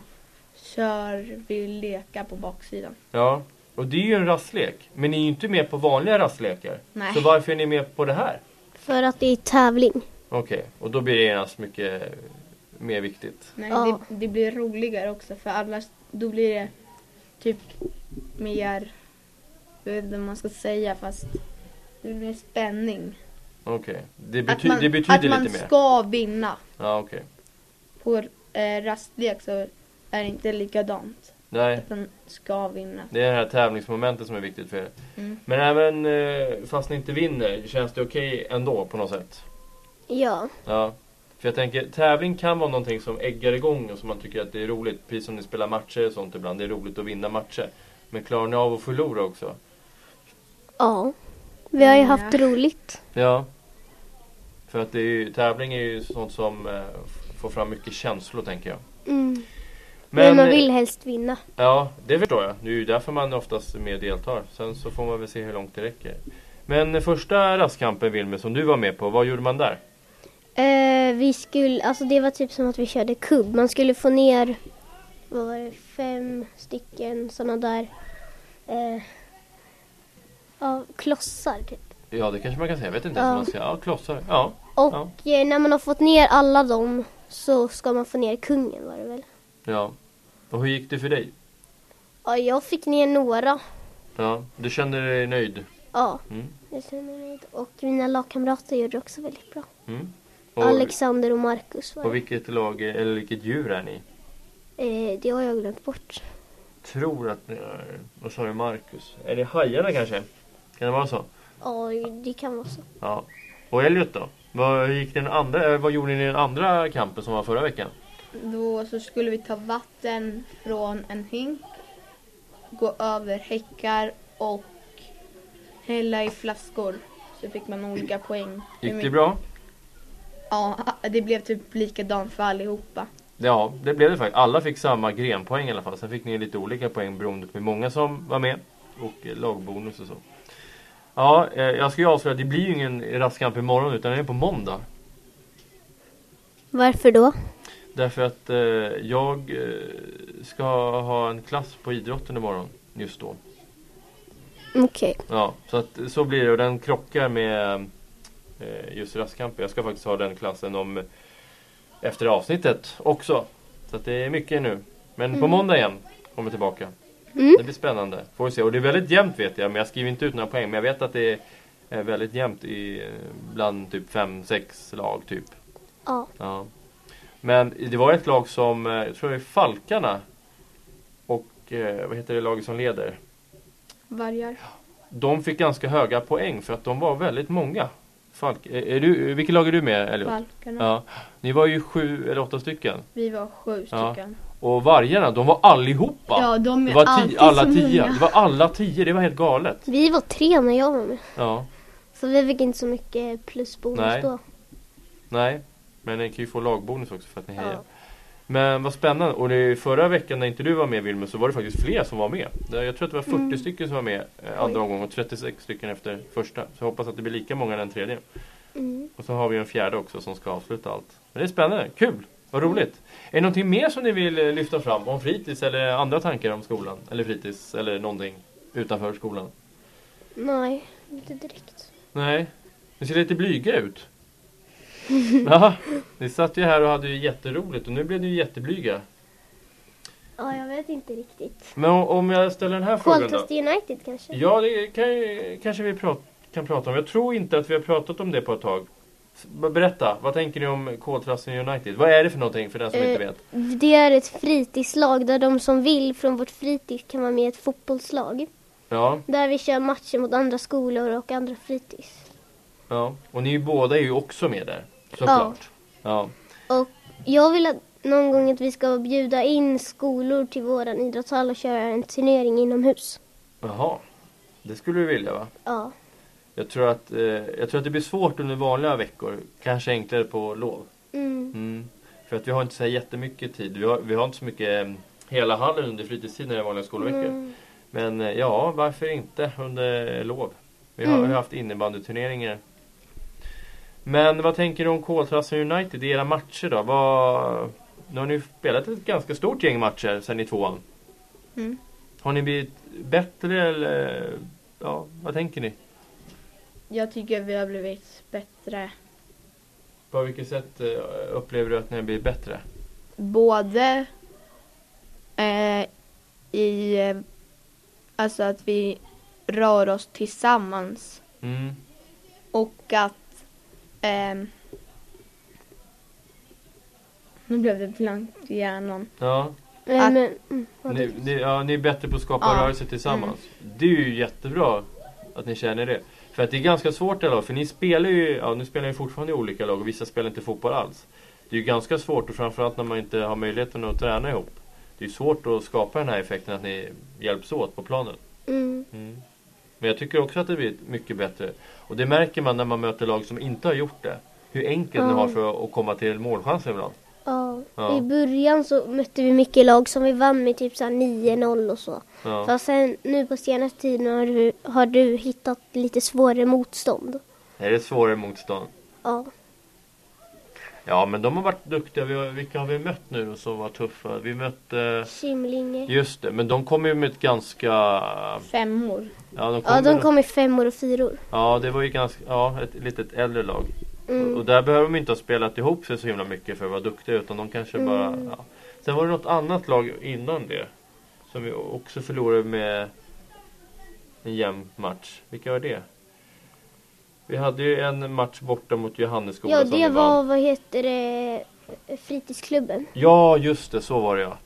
Speaker 3: kör vi leka på baksidan.
Speaker 2: Ja, och det är ju en rastlek. Men ni är ju inte med på vanliga rastlekar.
Speaker 3: Nej.
Speaker 2: Så varför är ni med på det här?
Speaker 4: För att det är tävling.
Speaker 2: Okej, och då blir det genast mycket mer viktigt.
Speaker 3: Nej,
Speaker 4: Ja.
Speaker 3: det, det blir roligare också för annars då blir det typ mer, jag vet inte vad man ska säga fast det blir mer spänning.
Speaker 2: Okej, det,
Speaker 3: Att
Speaker 2: bety-
Speaker 3: man,
Speaker 2: det betyder
Speaker 3: att man
Speaker 2: lite mer.
Speaker 3: ska vinna.
Speaker 2: Ja, okej.
Speaker 3: På eh, rastlek så är det inte likadant.
Speaker 2: Nej,
Speaker 3: Att man ska vinna.
Speaker 2: det är det här tävlingsmomentet som är viktigt för er.
Speaker 3: Mm.
Speaker 2: Men även eh, fast ni inte vinner, känns det okej ändå på något sätt?
Speaker 4: Ja.
Speaker 2: Ja. För jag tänker, tävling kan vara någonting som äggar igång och som man tycker att det är roligt. Precis som ni spelar matcher och sånt ibland. Det är roligt att vinna matcher. Men klarar ni av att förlora också?
Speaker 4: Ja. Vi har ju
Speaker 3: Ja.
Speaker 4: haft roligt.
Speaker 2: Ja. För att det är ju, tävling är ju sånt som eh, f- får fram mycket känslor tänker jag.
Speaker 4: Mm. Men, man vill helst vinna.
Speaker 2: Ja, det förstår jag. Det är ju därför man oftast är med och deltar. Sen så får man väl se hur långt det räcker. Men första rastkampen Wilmer, som du var med på, vad gjorde man där?
Speaker 4: Eh, vi skulle, alltså det var typ som att vi körde kubb. Man skulle få ner, vad var det, fem stycken sådana där eh, ja, klossar typ.
Speaker 2: Ja, det kanske man kan säga. Jag vet inte
Speaker 4: Ja.
Speaker 2: ens vad man ska Ja, klossar. Ja.
Speaker 4: Och eh, när man har fått ner alla dem så ska man få ner kungen var det väl?
Speaker 2: ja. Och hur gick det för dig?
Speaker 4: Ja, jag fick ner några.
Speaker 2: Ja, du kände dig nöjd?
Speaker 4: Ja,
Speaker 2: Mm.
Speaker 4: jag känner mig nöjd. Och mina lagkamrater gjorde också väldigt bra.
Speaker 2: Mm. Och,
Speaker 4: Alexander och Marcus var
Speaker 2: och
Speaker 4: det.
Speaker 2: vilket lag, eller vilket djur är ni?
Speaker 4: Eh, det har jag glömt bort.
Speaker 2: Tror att ni är, vad sa du Marcus? Är det hajarna kanske? Kan det vara så?
Speaker 4: Ja, det kan vara så.
Speaker 2: Ja. Och Elliot då? Vad, hur gick den andra, eh, vad gjorde ni i den andra kampen som var förra veckan?
Speaker 3: Då så skulle vi ta vatten från en hink, gå över häckar och hälla i flaskor. Så fick man olika poäng.
Speaker 2: Gick det bra?
Speaker 3: Ja, det blev typ likadant för allihopa.
Speaker 2: Ja, det blev det faktiskt. Alla fick samma grenpoäng i alla fall. Sen fick ni lite olika poäng beroende på hur många som var med. Och eh, lagbonus och så. Ja, eh, jag ska ju avslöja att det blir ju ingen rastkamp imorgon utan den är på måndag.
Speaker 4: Varför då?
Speaker 2: Därför att eh, jag eh, ska ha en klass på idrotten imorgon. Just då.
Speaker 4: Okej.
Speaker 2: Ja, så, att, så blir det. Och den krockar med eh, just rastkampen. Jag ska faktiskt ha den klassen om efter avsnittet också. Så att det är mycket nu. Men på måndag igen kommer jag tillbaka.
Speaker 4: Mm.
Speaker 2: Det blir spännande. Får vi se. Och det är väldigt jämnt vet jag. Men jag skriver inte ut några poäng. Men jag vet att det är är väldigt jämnt i, eh, bland typ fem sex lag typ.
Speaker 5: Ja.
Speaker 2: Ja. Men det var ett lag som, eh, jag tror det är Falkarna och eh, vad heter det laget som leder?
Speaker 3: Vargar.
Speaker 2: De fick ganska höga poäng för att de var väldigt många. Falk, är är du, vilket lag är du med Elliot?
Speaker 3: Valkarna.
Speaker 2: Ja. Ni var ju sju eller åtta stycken.
Speaker 3: Vi var sju
Speaker 2: Ja.
Speaker 3: stycken.
Speaker 2: Och vargarna, de var allihopa!
Speaker 3: Ja, de
Speaker 2: det
Speaker 3: är
Speaker 2: var
Speaker 3: alltid
Speaker 2: ti- alla
Speaker 3: så
Speaker 2: tio,
Speaker 3: många.
Speaker 2: det var alla tio, det var helt galet.
Speaker 1: Vi var tre när jag var med.
Speaker 2: Ja,
Speaker 1: Så vi fick inte så mycket plusbonus
Speaker 2: Nej.
Speaker 1: då.
Speaker 2: nej. Men ni kan ju få lagbonus också för att ni hejar.
Speaker 3: Ja.
Speaker 2: Men vad spännande. Och det, förra veckan när inte du var med Wilmer så var det faktiskt fler som var med. Det- Jag tror att det var 40 stycken som var med eh, andra
Speaker 3: Mm. Oj.
Speaker 2: omgången och 36 stycken efter första. Så jag hoppas att det blir lika många den tredje.
Speaker 1: Mm.
Speaker 2: Och så har vi en fjärde också som ska avsluta allt. Men det är spännande, kul, vad roligt. Är det någonting mer som ni vill eh, lyfta fram om fritids eller andra tankar om skolan? Eller fritids eller någonting utanför skolan?
Speaker 1: Nej, inte direkt.
Speaker 2: Nej, ni ser lite blyga ut. Ja, ni satt ju här och hade ju jätteroligt och nu blev ni ju jätteblyga.
Speaker 1: Ja, jag vet inte riktigt.
Speaker 2: Men o- om jag ställer den här frågan då?
Speaker 1: Koltest United kanske?
Speaker 2: Ja, det kan, ju- kanske vi prat, kan prata om. Jag tror inte att vi har pratat om det på ett tag. S- Berätta, vad tänker ni om Koltrasten United? Vad är det för någonting för den som inte
Speaker 1: Eh,
Speaker 2: vet?
Speaker 1: Det är ett fritidslag där de som vill från vårt fritids kan vara med i ett fotbollslag.
Speaker 2: Ja,
Speaker 1: Där vi kör matcher mot andra skolor och andra fritids.
Speaker 2: ja. Och ni båda är ju också med där, såklart. Ja.
Speaker 1: Och jag vill att någon gång att vi ska bjuda in skolor till våran idrottshall och köra en turnering inomhus.
Speaker 2: Jaha, det skulle du vilja va?
Speaker 1: Ja.
Speaker 2: Jag tror, att, eh, jag tror att det blir svårt under vanliga veckor. Kanske enklare på lov.
Speaker 1: Mm.
Speaker 2: Mm. För att vi har inte så här jättemycket tid. Vi har, vi har inte så mycket eh, hela hallen under fritidstiden i vanliga skolveckor.
Speaker 1: Mm.
Speaker 2: Men eh, ja, varför inte under lov? Vi har
Speaker 1: Mm.
Speaker 2: ju haft innebandyturneringar. Men vad tänker du om Koltrasten United i era matcher då? Vad... Nu har ni ju spelat ett ganska stort gäng matcher sen i tvåan.
Speaker 3: Mm.
Speaker 2: Har ni blivit bättre eller? Ja, vad tänker ni?
Speaker 3: Jag tycker vi har blivit bättre.
Speaker 2: På vilket sätt eh, upplever du att ni har blivit bättre?
Speaker 3: Både eh, i eh, alltså att vi rör oss tillsammans
Speaker 2: Mm.
Speaker 3: och att ehm, nu blev det blankt i hjärnan.
Speaker 2: Ja,
Speaker 1: Eh,
Speaker 3: Att-
Speaker 1: Men, mm, vad
Speaker 2: ni,
Speaker 1: det- Mm.
Speaker 2: ni, ja, ni är bättre på att skapa
Speaker 3: Ja.
Speaker 2: rörelse tillsammans. Det är ju jättebra att ni känner det. För att det är ganska svårt i alla fall, för ni spelar ju, ja nu spelar ni fortfarande i olika lag och vissa spelar inte fotboll alls. Det är ju ganska svårt och framförallt när man inte har möjligheten att träna ihop. Det är ju svårt att skapa den här effekten att ni hjälps åt på planen.
Speaker 1: mm.
Speaker 2: Men jag tycker också att det blir mycket bättre. Och det märker man när man möter lag som inte har gjort det. Hur enkelt ni
Speaker 1: Ja.
Speaker 2: har för att komma till målchanser ibland.
Speaker 1: Ja.
Speaker 2: Ja.
Speaker 1: I början så mötte vi mycket lag som vi vann med typ så här 9-0 och så.
Speaker 2: Ja.
Speaker 1: Så sen nu på senaste tiden har du, har du hittat lite svårare motstånd.
Speaker 2: Är det svårare motstånd?
Speaker 1: Ja.
Speaker 2: Ja, men de har varit duktiga. Vi har, vilka har vi mött nu då som var tuffa? Vi mötte...
Speaker 1: Kimlinge.
Speaker 2: Just det, men de kom ju med ett ganska...
Speaker 3: Femmor.
Speaker 2: Ja, de kom,
Speaker 1: Ja, de
Speaker 2: med-
Speaker 1: kom i femmor och fyror.
Speaker 2: ja det var ju ganska... Ja, ett litet äldre lag. Och- Och
Speaker 1: Mm.
Speaker 2: där behöver de inte ha spelat ihop sig så himla mycket för att vara duktiga, utan de kanske
Speaker 1: Mm.
Speaker 2: bara... Ja. Sen var det något annat lag innan det. Som vi också förlorade med en jämn match. Vilka var det? Vi hade ju en match borta mot Johannesskolan
Speaker 1: Ja,
Speaker 2: som vi
Speaker 1: det
Speaker 2: vann.
Speaker 1: var, vad heter det, fritidsklubben.
Speaker 2: Ja, just det. Så var det ja.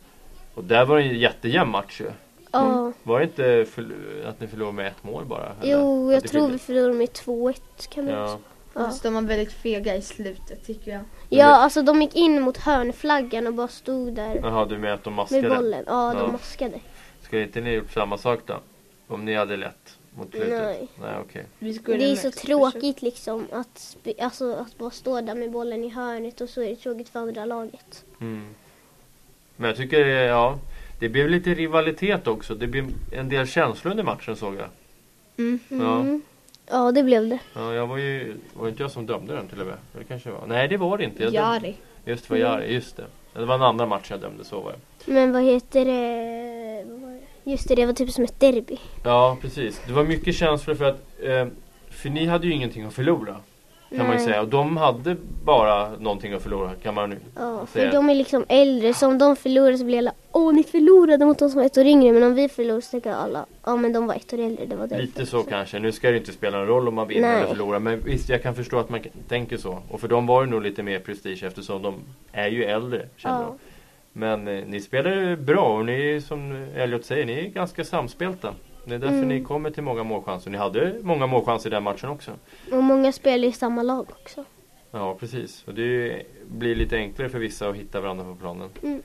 Speaker 2: Och där var det en jättejämn match ju.
Speaker 1: Ja.
Speaker 2: Var det inte förl- att ni förlorade med ett mål bara? eller?
Speaker 1: Jo, jag
Speaker 2: Att det
Speaker 1: tror vi
Speaker 2: skilde-
Speaker 1: förlorade med 2-1 kan det vara
Speaker 2: Ja.
Speaker 1: så. Ja.
Speaker 3: Fast Alltså, de var väldigt fega i slutet tycker jag.
Speaker 1: ja, alltså de gick in mot hörnflaggan och bara stod där
Speaker 2: Jaha, du menar att de
Speaker 1: med
Speaker 2: maskade?
Speaker 1: bollen. Ja, de
Speaker 2: Ja.
Speaker 1: maskade.
Speaker 2: Skulle inte ni gjort samma sak då? Om ni hade lett mot slutet?
Speaker 1: Nej.
Speaker 2: Nej, okej.
Speaker 3: Vi skulle
Speaker 1: Det är
Speaker 3: mest
Speaker 1: så tråkigt liksom att, spe- alltså, att bara stå där med bollen i hörnet och så är det tråkigt för andra laget.
Speaker 2: Mm. Men jag tycker, eh, ja. Det blev lite rivalitet också. Det blev en del känslor under matchen såg jag.
Speaker 3: försöka- Mm.
Speaker 1: Mm. Ja, det blev det.
Speaker 2: Ja, jag var ju... Var det inte jag som dömde den till och med? Eller kanske det var? Nej, det var det inte. Jag dömde-
Speaker 3: Jari.
Speaker 2: Just det, var Jari. Just det. Ja, Det var en annan match jag dömde, så var det.
Speaker 1: Men vad heter det? vad var det? Just det, det var typ som ett derby.
Speaker 2: Ja, precis. Det var mycket känslor för att... Eh, för ni hade ju ingenting att förlora. Kan man ju
Speaker 1: Nej.
Speaker 2: säga. Och de hade bara någonting att förlora kan man nu
Speaker 1: Ja,
Speaker 2: säga.
Speaker 1: för de är liksom äldre, så om de förlorar så blir alla Åh, ni förlorade mot de som var ett år yngre. Men om vi förlorar så tänker alla Ja, men de var ett år äldre, det var det.
Speaker 2: Lite så kanske. Nu ska det ju inte spela någon roll om man vinner
Speaker 1: Nej.
Speaker 2: eller förlorar. Men visst, jag kan förstå att man k- tänker så. Och för dem var det nog lite mer prestige eftersom de är ju äldre. Känner de.
Speaker 1: Ja.
Speaker 2: Men eh, ni spelar bra och ni är som Elliot säger, ni är ganska samspelta. Det är därför
Speaker 1: Mm.
Speaker 2: ni kommer till många målchanser. Ni hade många målchanser i den matchen också.
Speaker 1: Och många spelar i samma lag också.
Speaker 2: Ja, precis. Och det blir lite enklare för vissa att hitta varandra på planen.
Speaker 1: Mm.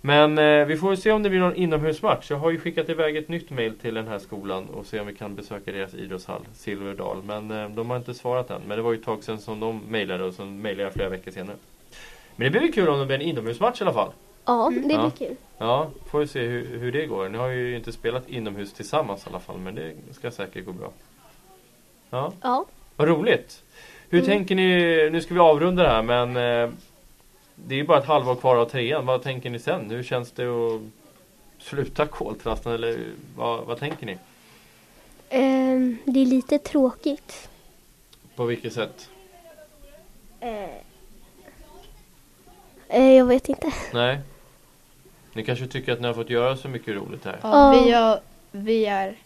Speaker 2: Men eh, vi får se om det blir någon inomhusmatch. Jag har ju skickat iväg ett nytt mejl till den här skolan och se om vi kan besöka deras idrottshall, Silverdal. Men eh, de har inte svarat än. Men det var ju ett tag sedan som de mejlade och sen mejlade jag flera veckor senare. Men det blir väl kul om det blir en inomhusmatch i alla fall.
Speaker 1: Ja, det blir
Speaker 2: Ja.
Speaker 1: kul.
Speaker 2: Ja, får vi se hur, hur det går. Ni har ju inte spelat inomhus tillsammans i alla fall, men det ska säkert gå bra. Ja.
Speaker 1: Ja.
Speaker 2: Vad roligt! Hur tänker ni, nu ska vi avrunda det här men eh, det är ju bara ett halvår kvar av trean. Vad tänker ni sen? Hur känns det att sluta koltrasten eller vad, vad tänker ni?
Speaker 1: Ehm, det är lite tråkigt.
Speaker 2: På vilket sätt?
Speaker 1: Eh, jag vet inte.
Speaker 2: Nej? Ni kanske tycker att ni har fått göra så mycket roligt här?
Speaker 3: Ja,
Speaker 1: Ja.
Speaker 3: vi, har, vi är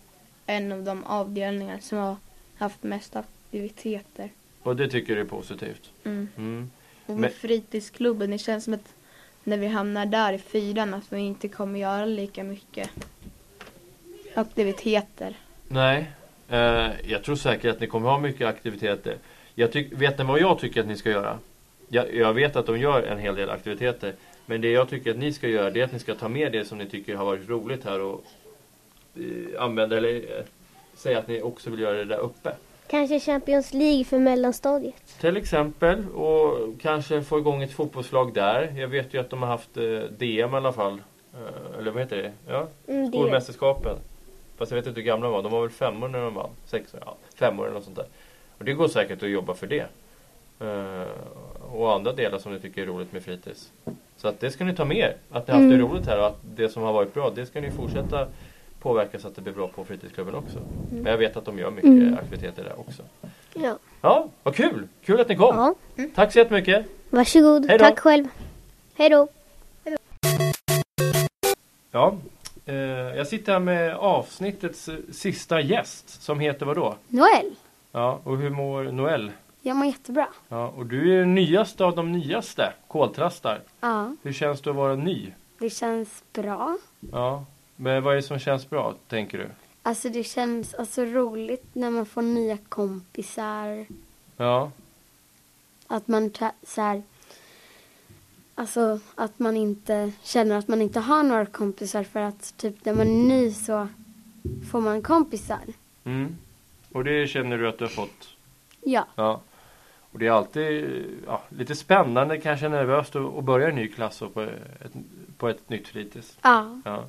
Speaker 3: en av de avdelningar som har haft mest aktiviteter.
Speaker 2: Och det tycker du är positivt?
Speaker 3: Mm.
Speaker 2: Mm.
Speaker 3: Och
Speaker 2: Men-
Speaker 3: med fritidsklubben, det känns som att när vi hamnar där i fyran att vi inte kommer göra lika mycket aktiviteter.
Speaker 2: Nej, eh, jag tror säkert att ni kommer ha mycket aktiviteter. Jag tyck, vet ni vad jag tycker att ni ska göra? Jag, jag vet att de gör en hel del aktiviteter. Men det jag tycker att ni ska göra det är att ni ska ta med det som ni tycker har varit roligt här och eh, använda eller eh, säga att ni också vill göra det där uppe.
Speaker 1: Kanske Champions League för mellanstadiet.
Speaker 2: Till exempel och kanske få igång ett fotbollslag där. Jag vet ju att de har haft eh, DM i alla fall. Eh, eller vad heter det? Ja,
Speaker 1: Mm, det-
Speaker 2: Skolmästerskapen. Fast jag vet inte hur gamla de var. De var väl femmor när de vann? Sexor? Ja, femmor eller något sånt där. Och det går säkert att jobba för det. Eh, och andra delar som ni tycker är roligt med fritids. Så att det ska ni ta med er. Att ni har haft det
Speaker 1: Mm.
Speaker 2: roligt här och att det som har varit bra det ska ni fortsätta påverka så att det blir bra på fritidsklubben också. Men jag vet att de gör mycket
Speaker 1: Mm.
Speaker 2: aktiviteter där också.
Speaker 1: Ja.
Speaker 2: Ja, vad kul! Kul att ni kom!
Speaker 1: ja.
Speaker 2: Tack så jättemycket!
Speaker 1: Varsågod.
Speaker 2: Hej då.
Speaker 1: Tack själv. Hej då.
Speaker 2: Ja, eh, jag sitter här med avsnittets eh, sista gäst som heter vad då?
Speaker 6: Noel,
Speaker 2: Ja, och hur mår Noel?
Speaker 6: jag mår jättebra.
Speaker 2: Ja, och du är den nyaste av de nyaste koltrastar.
Speaker 6: Ja,
Speaker 2: Hur känns det att vara ny?
Speaker 6: det känns bra.
Speaker 2: Ja, men vad är det som känns bra tänker du?
Speaker 6: Alltså det känns alltså roligt när man får nya kompisar.
Speaker 2: Ja,
Speaker 6: Att man tra- så här, alltså att man inte känner att man inte har några kompisar för att typ när man är ny så får man kompisar.
Speaker 2: mm. och det känner du att du har fått?
Speaker 6: Ja,
Speaker 2: Ja. Och det är alltid eh, ja, lite spännande, kanske nervöst att att börja i en ny klass och på ett, på ett nytt fritids.
Speaker 6: ja.
Speaker 2: Ja.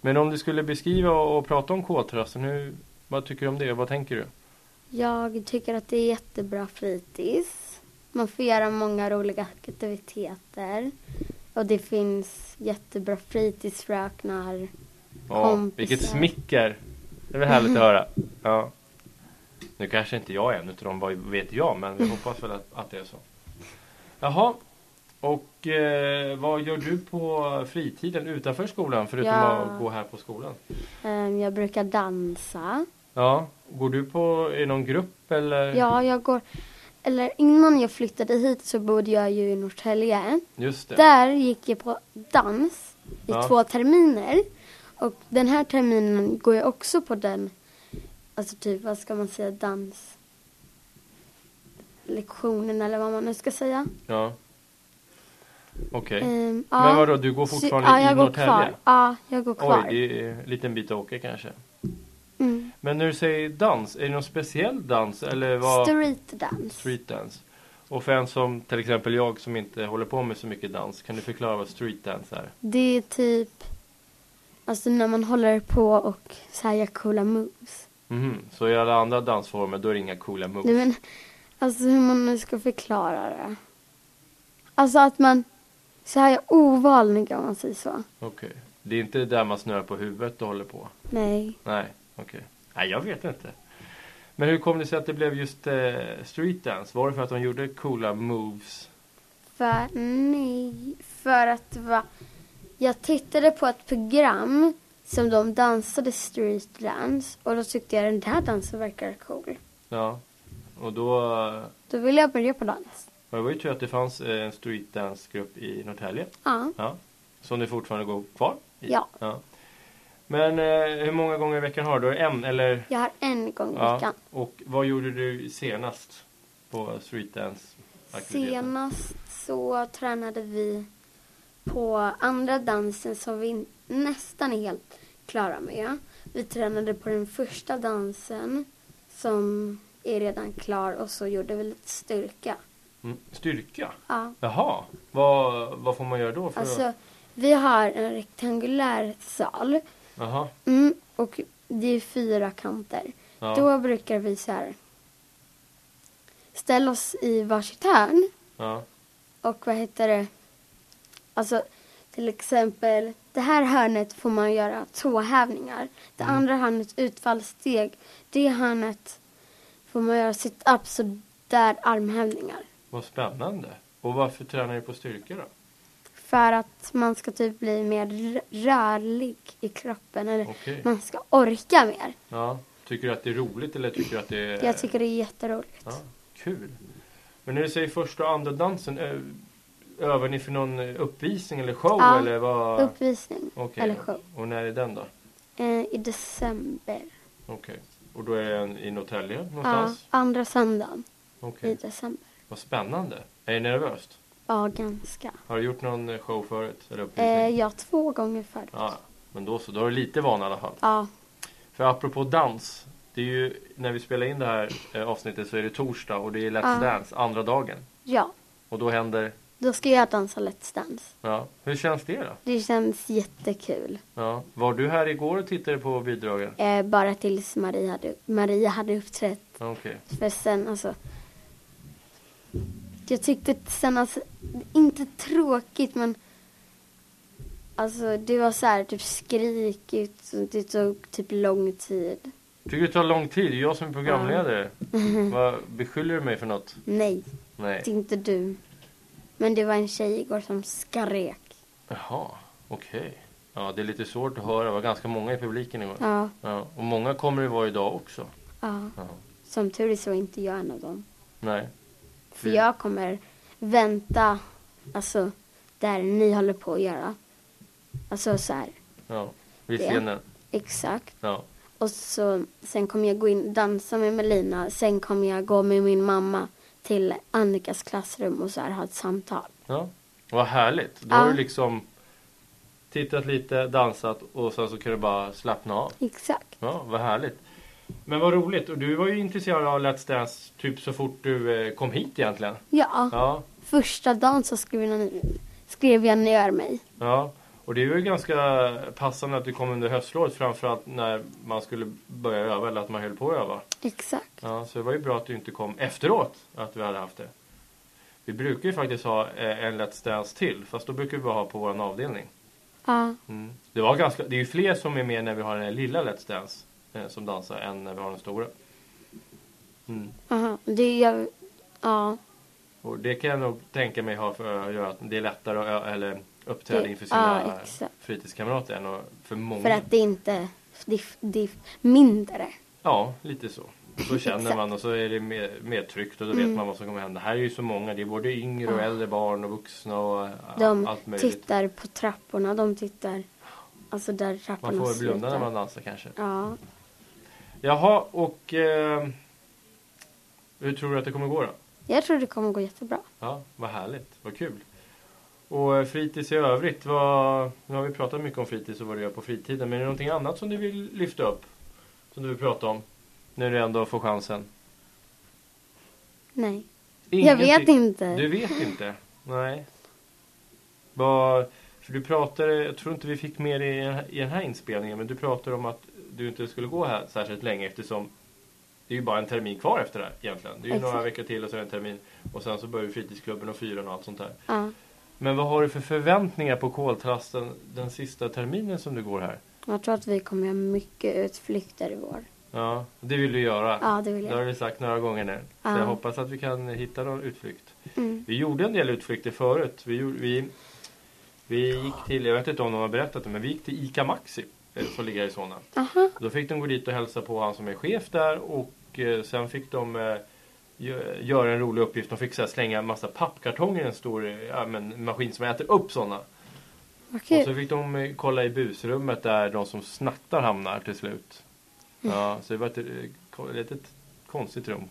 Speaker 2: Men om du skulle beskriva och, och prata om koltrasten, hur, vad tycker du om det och vad tänker du?
Speaker 6: Jag tycker att det är jättebra fritids. Man får göra många roliga aktiviteter. Och det finns jättebra fritidsfröknar.
Speaker 2: Ja,
Speaker 6: Kompisar.
Speaker 2: vilket smicker! Det är väl härligt att höra. Ja. Nu kanske inte jag är en utav dem, vad vet jag, men vi hoppas väl att, att det är så. Jaha, och eh, vad gör du på fritiden utanför skolan förutom
Speaker 6: Ja.
Speaker 2: att gå här på skolan?
Speaker 6: Ehm, Jag brukar dansa.
Speaker 2: Ja, går du på, i någon grupp eller?
Speaker 6: Ja, jag går... Eller innan jag flyttade hit så bodde jag ju i Norrtälje.
Speaker 2: Just det.
Speaker 6: Där gick jag på dans i
Speaker 2: Ja.
Speaker 6: två terminer. Och den här terminen går jag också på den, alltså typ vad ska man säga, danslektionen eller vad man nu ska säga.
Speaker 2: Ja. Okej.
Speaker 6: Ehm,
Speaker 2: Men vadå, du går
Speaker 6: Så-
Speaker 2: fortfarande
Speaker 6: ja, jag
Speaker 2: i
Speaker 6: går
Speaker 2: Norrtälje?
Speaker 6: kvar. Ja, jag går kvar.
Speaker 2: Oj, det är en liten bit att åka kanske.
Speaker 6: mm.
Speaker 2: Men när du säger dans, är det någon speciell dans eller vad?
Speaker 6: Streetdance.
Speaker 2: streetdance. Och för en som till exempel jag som inte håller på med så mycket dans, kan du förklara vad streetdance är?
Speaker 6: Det är typ, alltså när man håller på och så här gör coola moves.
Speaker 2: Mhm, Så i alla andra dansformer då är det inga coola moves?
Speaker 6: Du men, alltså hur man nu ska förklara det. Alltså att man, så här gör ovalning om man säger så.
Speaker 2: Okej. Det är inte det där man snurrar på huvudet och håller på?
Speaker 6: Nej.
Speaker 2: Nej, okej. Nej, jag vet inte. Men hur kom det sig att det blev just eh, street dance? Var det för att de gjorde coola moves?
Speaker 6: För, nej, för att det var... Jag tittade på ett program som de dansade street dance och då tyckte jag den där dansen verkar cool.
Speaker 2: Ja. Och då... eh,
Speaker 6: Då ville jag börja på dans.
Speaker 2: Det var ju tur att det fanns eh, en street dance-grupp i Norrtälje.
Speaker 6: Ja.
Speaker 2: Ja. Som du fortfarande går kvar i.
Speaker 6: Ja.
Speaker 2: Men eh, hur många gånger i veckan har du? Då är det En eller?
Speaker 6: Jag har en gång i
Speaker 2: Ja.
Speaker 6: veckan.
Speaker 2: Och vad gjorde du senast på street dance aktiviteten?
Speaker 6: Senast så tränade vi på andra dansen som vi nästan är helt klara med. Vi tränade på den första dansen som är redan klar och så gjorde vi lite styrka.
Speaker 2: Mm. Styrka?
Speaker 6: Ja.
Speaker 2: Jaha. Vad, vad får man göra då? För
Speaker 6: Alltså, vi har en rektangulär sal
Speaker 2: Jaha.
Speaker 6: mm, och det är fyra kanter.
Speaker 2: Ja.
Speaker 6: Då brukar vi så här ställa oss i varsitt hörn
Speaker 2: Ja.
Speaker 6: och vad heter det? Alltså till exempel det här hörnet får man göra tåhävningar. Det
Speaker 2: Mm.
Speaker 6: andra hörnet utfallssteg. Det hörnet får man göra sit-ups och där armhävningar.
Speaker 2: Vad spännande. Och varför tränar du på styrka
Speaker 6: Mm.
Speaker 2: då?
Speaker 6: För att man ska typ bli mer rö- rörlig i kroppen eller
Speaker 2: Okej.
Speaker 6: man ska orka mer.
Speaker 2: Ja. Tycker du att det är roligt eller tycker du att det är...
Speaker 6: Jag tycker det är jätteroligt.
Speaker 2: Ja, kul. Men när du säger första och andra dansen, ö- övar ni för någon uppvisning eller show?
Speaker 6: Ja,
Speaker 2: eller vad?
Speaker 6: Uppvisning
Speaker 2: Okej.
Speaker 6: eller show.
Speaker 2: Och när är den då?
Speaker 6: Eh, I december.
Speaker 2: Okej. Och då är den i Norrtälje
Speaker 6: Ja,
Speaker 2: någonstans?
Speaker 6: andra söndagen
Speaker 2: Okej.
Speaker 6: i december.
Speaker 2: Vad spännande. Är det nervöst?
Speaker 6: Ja, ganska.
Speaker 2: Har du gjort någon eh, show förut? Eller uppvisning?
Speaker 6: Eh, ja, två gånger förut.
Speaker 2: ja. Men då så, då har du lite vana i alla fall.
Speaker 6: Ja,
Speaker 2: För apropå dans, det är ju när vi spelar in det här eh, avsnittet så är det torsdag och det är Let's
Speaker 6: Ja.
Speaker 2: Dance, andra dagen.
Speaker 6: ja.
Speaker 2: Och då händer,
Speaker 6: Då ska jag dansa Let's Dance.
Speaker 2: ja. Hur känns det då?
Speaker 6: Det känns jättekul.
Speaker 2: Ja. Var du här igår och tittade på bidragen?
Speaker 6: Eh, bara tills Maria hade, Maria hade uppträtt.
Speaker 2: Ja, Okej.
Speaker 6: För sen alltså. Jag tyckte att sen alltså, inte tråkigt men. Alltså det var så här typ skrikigt och det tog typ lång tid.
Speaker 2: Tycker det tar lång tid? Det är jag som är programledare. Vad Beskyller du mig för något?
Speaker 6: Nej,
Speaker 2: Nej.
Speaker 6: det är inte du. Men det var en tjej igår som skrek.
Speaker 2: Jaha, okej. Ja, det är lite svårt att höra. Det var ganska många i publiken igår.
Speaker 6: Ja,
Speaker 2: Ja, och många kommer det vara idag också.
Speaker 6: ja.
Speaker 2: Ja.
Speaker 6: Som tur är så är inte jag en av dem.
Speaker 2: Nej.
Speaker 6: För
Speaker 2: Mm.
Speaker 6: jag kommer vänta, alltså där ni håller på att göra. Alltså så här,
Speaker 2: Ja. Vid
Speaker 6: Det.
Speaker 2: scenen.
Speaker 6: exakt.
Speaker 2: Ja.
Speaker 6: Och så, sen kommer jag gå in och dansa med Melina. Sen kommer jag gå med min mamma till Annikas klassrum och så här ha ett samtal.
Speaker 2: ja. Vad härligt. Då har
Speaker 6: Ja.
Speaker 2: du liksom tittat lite, dansat och sen så kan du bara slappna av.
Speaker 6: Exakt.
Speaker 2: Ja, vad härligt. Men vad roligt. Och du var ju intresserad av Let's Dance typ så fort du eh, kom hit egentligen.
Speaker 6: Ja,
Speaker 2: Ja.
Speaker 6: första dagen så skrev jag, skrev jag ner mig.
Speaker 2: Ja, och det är ju ganska passande att du kom under höstlovet framförallt när man skulle börja öva eller att man höll på att öva.
Speaker 6: Exakt.
Speaker 2: Ja, så det var ju bra att du inte kom efteråt, att vi hade haft det. Vi brukar ju faktiskt ha eh, en Let's Dance till, fast då brukar vi bara ha på vår avdelning.
Speaker 6: Ja,
Speaker 2: Mm. Det, var ganska, det är ju fler som är med när vi har den här lilla Let's Dance eh, som dansar än när vi har den stora. Mm.
Speaker 6: aha. Det jag, ja,
Speaker 2: Och det kan jag nog tänka mig ha för att göra att det är lättare att ö- eller uppträda
Speaker 6: Det-
Speaker 2: inför sina
Speaker 6: ja, exakt.
Speaker 2: fritidskamrater än att- för många.
Speaker 6: för att det inte, det, det är mindre.
Speaker 2: Ja, lite så. Så känner
Speaker 6: Exakt. Mm.
Speaker 2: man och så är det mer, mer tryggt och då vet man vad som kommer hända. Här är ju så många, det är både yngre och äldre barn och vuxna och ä,
Speaker 6: De
Speaker 2: allt möjligt.
Speaker 6: tittar på trapporna, de tittar, alltså där trapporna
Speaker 2: Man får väl blunda när
Speaker 6: slutar.
Speaker 2: man dansar kanske.
Speaker 6: Ja,
Speaker 2: Jaha, och eh, hur tror du att det kommer gå då?
Speaker 6: jag tror det kommer gå jättebra.
Speaker 2: Ja, vad härligt, vad kul. Och eh, fritids i övrigt, vad, nu har vi pratat mycket om fritids och vad du gör på fritiden. Men är det någonting annat som du vill lyfta upp? Som du vill prata om? När du ändå får chansen?
Speaker 6: Nej. Jag vet
Speaker 2: Ingenting.
Speaker 6: inte.
Speaker 2: Du vet inte? Nej. Vad, för du pratade, jag tror inte vi fick med det i den här- i den här inspelningen, men du pratade om att du inte skulle gå här särskilt länge eftersom det är ju bara en termin kvar efter det här egentligen. Det är ju några
Speaker 6: Exakt.
Speaker 2: veckor till och så är det en termin. Och sen så börjar ju fritidsklubben och fyran och allt sånt där.
Speaker 6: Ja.
Speaker 2: Men vad har du för förväntningar på koltrasten den sista terminen som du går här?
Speaker 6: Jag tror att vi kommer göra mycket utflykter i vår.
Speaker 2: Ja, det vill du göra.
Speaker 6: Ja, det vill
Speaker 2: Det har
Speaker 6: jag.
Speaker 2: vi sagt några gånger nu. Så
Speaker 6: Ja.
Speaker 2: jag hoppas att vi kan hitta någon utflykt.
Speaker 6: Mm.
Speaker 2: Vi gjorde en del utflykter förut. Vi, gjorde, vi, vi gick till, jag vet inte om de har berättat det, men vi gick till ICA Maxi eh, som ligger i Solna.
Speaker 6: Aha.
Speaker 2: Då fick de gå dit och hälsa på han som är chef där och eh, sen fick de eh, gö- göra en rolig uppgift. De fick så här, slänga en massa pappkartonger i en stor eh, ja, men, maskin som äter upp sådana.
Speaker 6: Vad
Speaker 2: Och så
Speaker 6: kul.
Speaker 2: fick de eh, kolla i busrummet där de som snattar hamnar till slut.
Speaker 6: Mm.
Speaker 2: Ja, så det var ett, eh, ko- ett litet konstigt rum.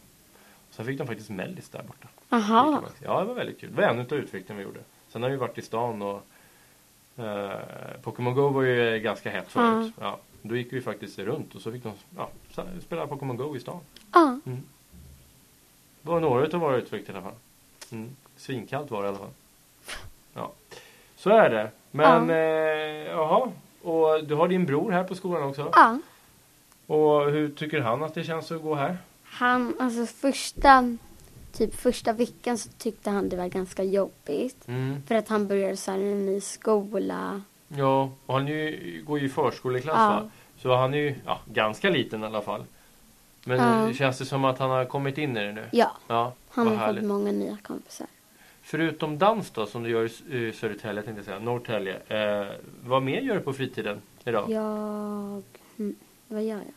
Speaker 2: Sen fick de faktiskt mellis där borta.
Speaker 6: Aha.
Speaker 2: Ja, det var väldigt kul. Det var en utav utflykten vi gjorde. Sen har vi varit i stan och eh, Pokémon Go var ju ganska hett förut. Ja, då gick vi faktiskt runt och så fick de ja, sa- spela Pokémon Go i stan.
Speaker 6: Ja.
Speaker 2: Det var några utav våra utflykter i alla fall. Mm. Svinkallt var det i alla fall. Ja, så är det. Men,
Speaker 6: Ja.
Speaker 2: eh, jaha. Och du har din bror här på skolan också.
Speaker 6: ja.
Speaker 2: Och hur tycker han att det känns att gå här?
Speaker 6: Han, alltså första, typ första veckan så tyckte han det var ganska jobbigt.
Speaker 2: Mm.
Speaker 6: För att han började så här i en ny skola.
Speaker 2: Ja, och han är ju, går ju i förskoleklass
Speaker 6: Ja.
Speaker 2: va? Så han är ju ja, ganska liten i alla fall. Men
Speaker 6: Ja.
Speaker 2: eh, känns det som att han har kommit in i det nu?
Speaker 6: Ja,
Speaker 2: Ja,
Speaker 6: han
Speaker 2: vad
Speaker 6: har fått
Speaker 2: härligt.
Speaker 6: många nya kompisar.
Speaker 2: Förutom dans då som du gör i S- i Södertälje tänkte jag säga, Norrtälje. Eh, vad mer gör du på fritiden idag?
Speaker 6: Jag... Mm, vad gör jag?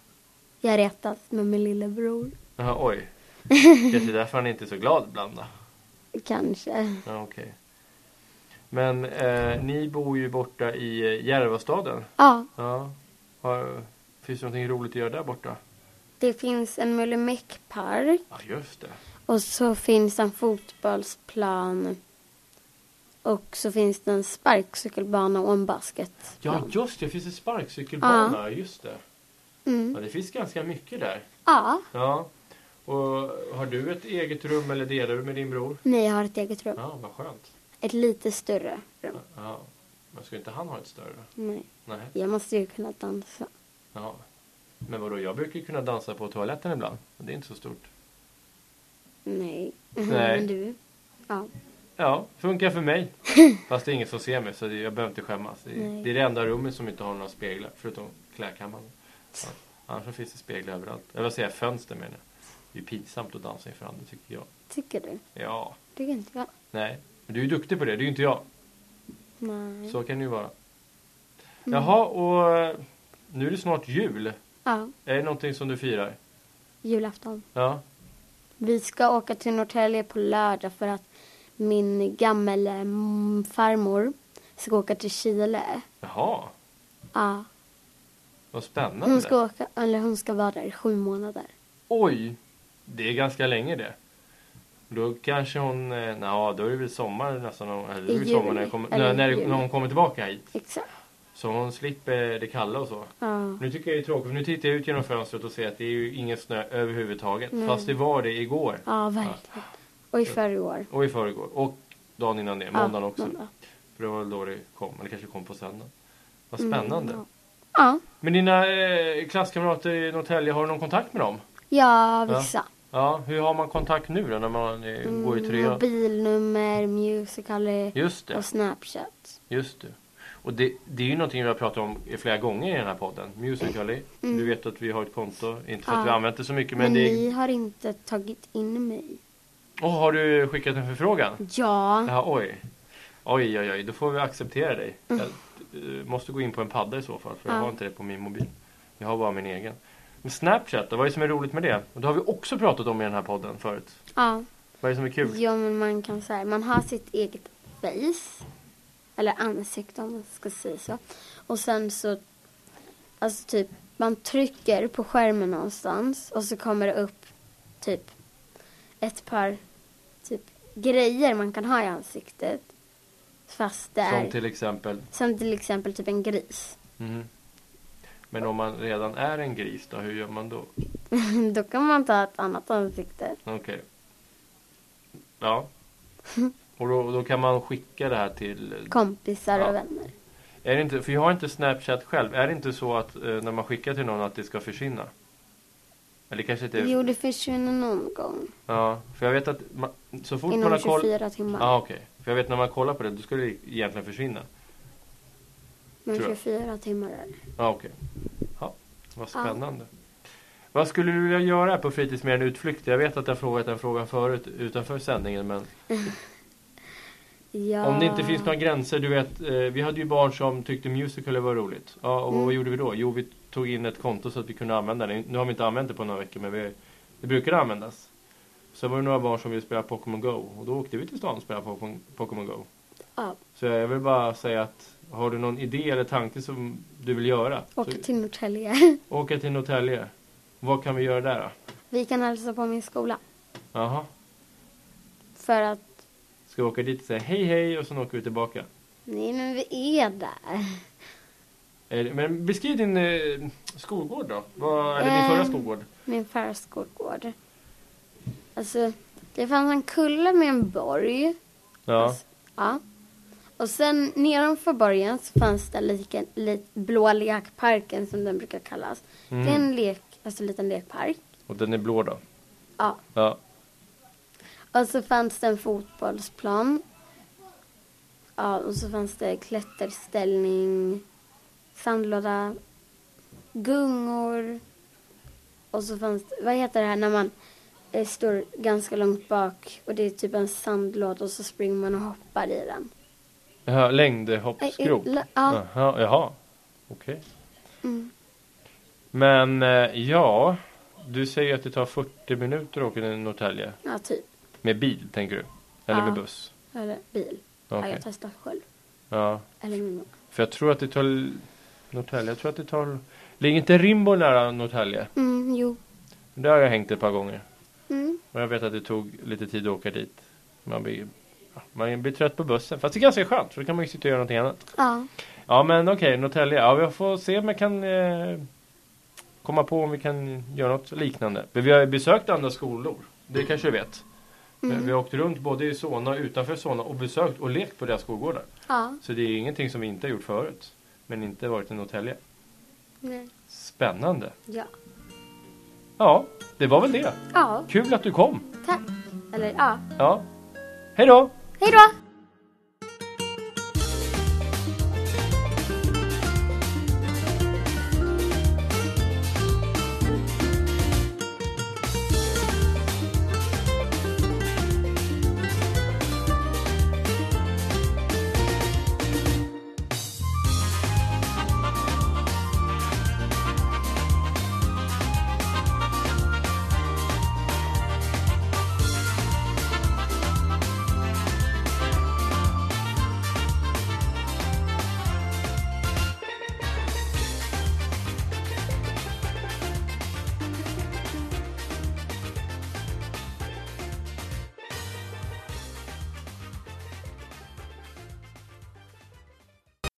Speaker 6: Jag retas med min lillebror.
Speaker 2: Jaha, oj. Kanske därför han inte är så glad ibland då.
Speaker 6: Kanske.
Speaker 2: Ja, okej. Men eh, ni bor ju borta i eh, Järvastaden.
Speaker 6: Ja,
Speaker 2: Ja. Har, finns det någonting roligt att göra där borta?
Speaker 6: det finns en Mullimäck-park.
Speaker 2: Ja, just det.
Speaker 6: Och så finns en fotbollsplan. Och så finns det en sparkcykelbana och en basket.
Speaker 2: Ja, just det. Det finns en sparkcykelbana. Just det. Ja,
Speaker 6: Mm.
Speaker 2: det finns ganska mycket där.
Speaker 6: Ja,
Speaker 2: Ja. Och har du ett eget rum eller delar du med din bror?
Speaker 6: nej, jag har ett eget rum.
Speaker 2: Ja, vad skönt.
Speaker 6: Ett lite större rum.
Speaker 2: Ja. Men ska inte han ha ett större? då?
Speaker 6: Nej,
Speaker 2: Nej.
Speaker 6: jag måste ju kunna dansa.
Speaker 2: Ja. Men vadå, jag brukar ju kunna dansa på toaletten ibland. Men Det är inte så stort.
Speaker 6: Nej.
Speaker 2: Nej.
Speaker 6: Men du. Ja.
Speaker 2: Ja, funkar för mig. Fast det är ingen som ser mig så det- jag behöver inte skämmas. Det är,
Speaker 6: Nej.
Speaker 2: det är det enda rummet som inte har några speglar, förutom klädkammaren. Ja. Annars så finns det speglar överallt. Eller vad säger jag, fönster menar jag. Det är ju pinsamt att dansa inför andra tycker jag.
Speaker 6: Tycker du?
Speaker 2: Ja,
Speaker 6: Tycker inte jag.
Speaker 2: nej. Men du är ju duktig på det, det är ju inte jag.
Speaker 6: Nej.
Speaker 2: Så kan det ju vara.
Speaker 6: Mm.
Speaker 2: Jaha, och eh, nu är det snart jul.
Speaker 6: Ja,
Speaker 2: Är det någonting som du firar?
Speaker 6: julafton.
Speaker 2: Ja,
Speaker 6: Vi ska åka till Norrtälje på lördag för att min gammel mm, farmor ska åka till Chile.
Speaker 2: jaha.
Speaker 6: Ja.
Speaker 2: Vad spännande.
Speaker 6: Hon ska, åka, eller hon ska vara där i sju månader.
Speaker 2: Oj! Det är ganska länge det. Då kanske hon, eh, nja då är det väl sommar nästan, eller det är
Speaker 6: I
Speaker 2: väl sommar när,
Speaker 6: juli,
Speaker 2: jag kommer,
Speaker 6: eller
Speaker 2: när, när, det-
Speaker 6: juli.
Speaker 2: när hon kommer tillbaka hit.
Speaker 6: Exakt.
Speaker 2: Så hon slipper det kalla och så.
Speaker 6: Ja.
Speaker 2: Nu tycker jag det är tråkigt, för nu tittar jag ut genom fönstret och ser att det är ju ingen snö överhuvudtaget.
Speaker 6: Nej.
Speaker 2: Fast det var det igår
Speaker 6: Ja, verkligen. Och i förrgår.
Speaker 2: och i förrgår och dagen innan det,
Speaker 6: Ja,
Speaker 2: måndagen också.
Speaker 6: måndag.
Speaker 2: För det var väl då det kom, eller kanske kom på söndagen. Vad spännande.
Speaker 6: Mm, ja.
Speaker 2: Men dina eh, klasskamrater i Norrtälje, har du någon kontakt med dem?
Speaker 6: ja,
Speaker 2: Ja.
Speaker 6: vissa.
Speaker 2: Ja, hur har man kontakt nu då när man eh, går i
Speaker 6: Mm,
Speaker 2: trean?
Speaker 6: Mobilnummer, musical.ly
Speaker 2: Just det.
Speaker 6: och Snapchat.
Speaker 2: Just det. Och det, det är ju någonting vi har pratat om i flera gånger i den här podden. Musical.ly. Du vet att vi har ett konto. Inte för att
Speaker 6: Mm. Ja.
Speaker 2: vi har använt det så mycket
Speaker 6: Men,
Speaker 2: men, det...
Speaker 6: ni har inte tagit in mig.
Speaker 2: Åh, har du skickat en förfrågan?
Speaker 6: Ja.
Speaker 2: Ja, oj. Oj, oj, oj. Då får vi acceptera dig. Jag eh, måste gå in på en padda i så fall. För jag
Speaker 6: Ja.
Speaker 2: har inte det på min mobil. Jag har bara min egen. Men Snapchat, då, vad är det som är roligt med det? Och det har vi också pratat om i den här podden förut.
Speaker 6: ja.
Speaker 2: Vad är det som är kul?
Speaker 6: Ja, men man kan så här, man har sitt eget face. Eller ansikte om man ska säga så. Och sen så, alltså typ, man trycker på skärmen någonstans och så kommer det upp typ ett par typ grejer man kan ha i ansiktet. Fast det
Speaker 2: Som
Speaker 6: är,
Speaker 2: till exempel...
Speaker 6: som till exempel typ en gris.
Speaker 2: Mhm. Men om man redan är en gris då, hur gör man då?
Speaker 6: Då kan man ta ett annat ansikte.
Speaker 2: Okej. Ja. Och då, då kan man skicka det här till...
Speaker 6: Kompisar
Speaker 2: Ja.
Speaker 6: och vänner.
Speaker 2: Är det inte, för jag har inte Snapchat själv. Är det inte så att eh, när man skickar till någon att det ska försvinna? Eller kanske inte...
Speaker 6: Jo, det försvinner någon gång.
Speaker 2: Ja, för jag vet att man, så fort man
Speaker 6: Inom
Speaker 2: har koll...
Speaker 6: 24 timmar.
Speaker 2: Ja, okej. För jag vet när man kollar på det, då skulle det egentligen försvinna.
Speaker 6: Men
Speaker 2: tror jag.
Speaker 6: 24 timmar är det.
Speaker 2: Ja, okej. Ja, vad spännande. Vad skulle du vilja göra här på fritids mer än utflykter? Jag vet att jag frågat den frågan förut utanför sändningen men
Speaker 6: Ja.
Speaker 2: om det inte finns några gränser, du vet, eh, vi hade ju barn som tyckte musical var roligt. Ja, och
Speaker 6: Mm.
Speaker 2: vad gjorde vi då? Jo, vi tog in ett konto så att vi kunde använda det. Nu har vi inte använt det på några veckor men vi, det brukade användas. Sen var det några barn som ville spela Pokémon Go och då åkte vi till stan och spelade Pokémon- Pokémon Go.
Speaker 6: Ja,
Speaker 2: Så jag vill bara säga att har du någon idé eller tanke som du vill göra?
Speaker 6: åka
Speaker 2: så,
Speaker 6: till Norrtälje.
Speaker 2: åka till Norrtälje. Vad kan vi göra där då?
Speaker 6: Vi kan hälsa på min skola.
Speaker 2: Jaha.
Speaker 6: För att,
Speaker 2: Ska vi åka dit och säga hej hej och sen åker vi tillbaka?
Speaker 6: nej men vi är där.
Speaker 2: Är det- Men beskriv din eh, skolgård då. Vad, eller din
Speaker 6: Eh.
Speaker 2: förra skolgård.
Speaker 6: Min förra skolgård. Alltså, det fanns en kulle med en borg.
Speaker 2: Ja.
Speaker 6: Alltså, ja. Och sen nedanför borgen så fanns det lika, li, blå lekparken som den brukar kallas.
Speaker 2: Mm.
Speaker 6: Det är en lek, alltså en liten lekpark.
Speaker 2: Och den är blå då?
Speaker 6: Ja.
Speaker 2: Ja.
Speaker 6: Och så fanns det en fotbollsplan. Ja, och så fanns det klätterställning, sandlåda, gungor. Och så fanns det, vad heter det här när man eh, står ganska långt bak och det är typ en sandlåda och så springer man och hoppar i den.
Speaker 2: Jaha,
Speaker 6: Eh,
Speaker 2: längdhoppsgrop?
Speaker 6: eh, la- ja.
Speaker 2: Jaha, jaha. okej.
Speaker 6: Mm.
Speaker 2: Men eh, ja, du säger att det tar 40 minuter att åka till Norrtälje.
Speaker 6: Ja, typ.
Speaker 2: Med bil tänker du? Eller
Speaker 6: Ja.
Speaker 2: med buss?
Speaker 6: Eller bil. Ja,
Speaker 2: Okej.
Speaker 6: jag testar själv.
Speaker 2: Ja.
Speaker 6: Eller min mamma.
Speaker 2: För jag tror att det tar... Norrtälje, jag tror att det tar... Ligger inte Rimbo nära Norrtälje?
Speaker 6: Mm, jo.
Speaker 2: Där har jag hängt ett par gånger.
Speaker 6: Mm.
Speaker 2: Och jag vet att det tog lite tid att åka dit. Man blir, ja, man blir trött på bussen. Fast det är ganska skönt för då kan man ju sitta och göra någonting annat.
Speaker 6: Ja.
Speaker 2: Ja men okej, Norrtälje. Ja, jag får se om jag kan eh, komma på om vi kan göra något liknande. Men vi har ju besökt andra skolor. Det kanske du vet. Eh,
Speaker 6: Mm.
Speaker 2: Vi har åkt runt både i Solna och utanför Solna och besökt och lekt på deras skolgårdar.
Speaker 6: Ja.
Speaker 2: Så det är ingenting som vi inte har gjort förut. Men inte varit i Norrtälje.
Speaker 6: Nej.
Speaker 2: Spännande.
Speaker 6: Ja.
Speaker 2: Ja, det var väl det.
Speaker 6: Ja.
Speaker 2: Kul att du kom.
Speaker 6: Tack. Eller ja.
Speaker 2: Ja. Hej då!
Speaker 6: Hej då!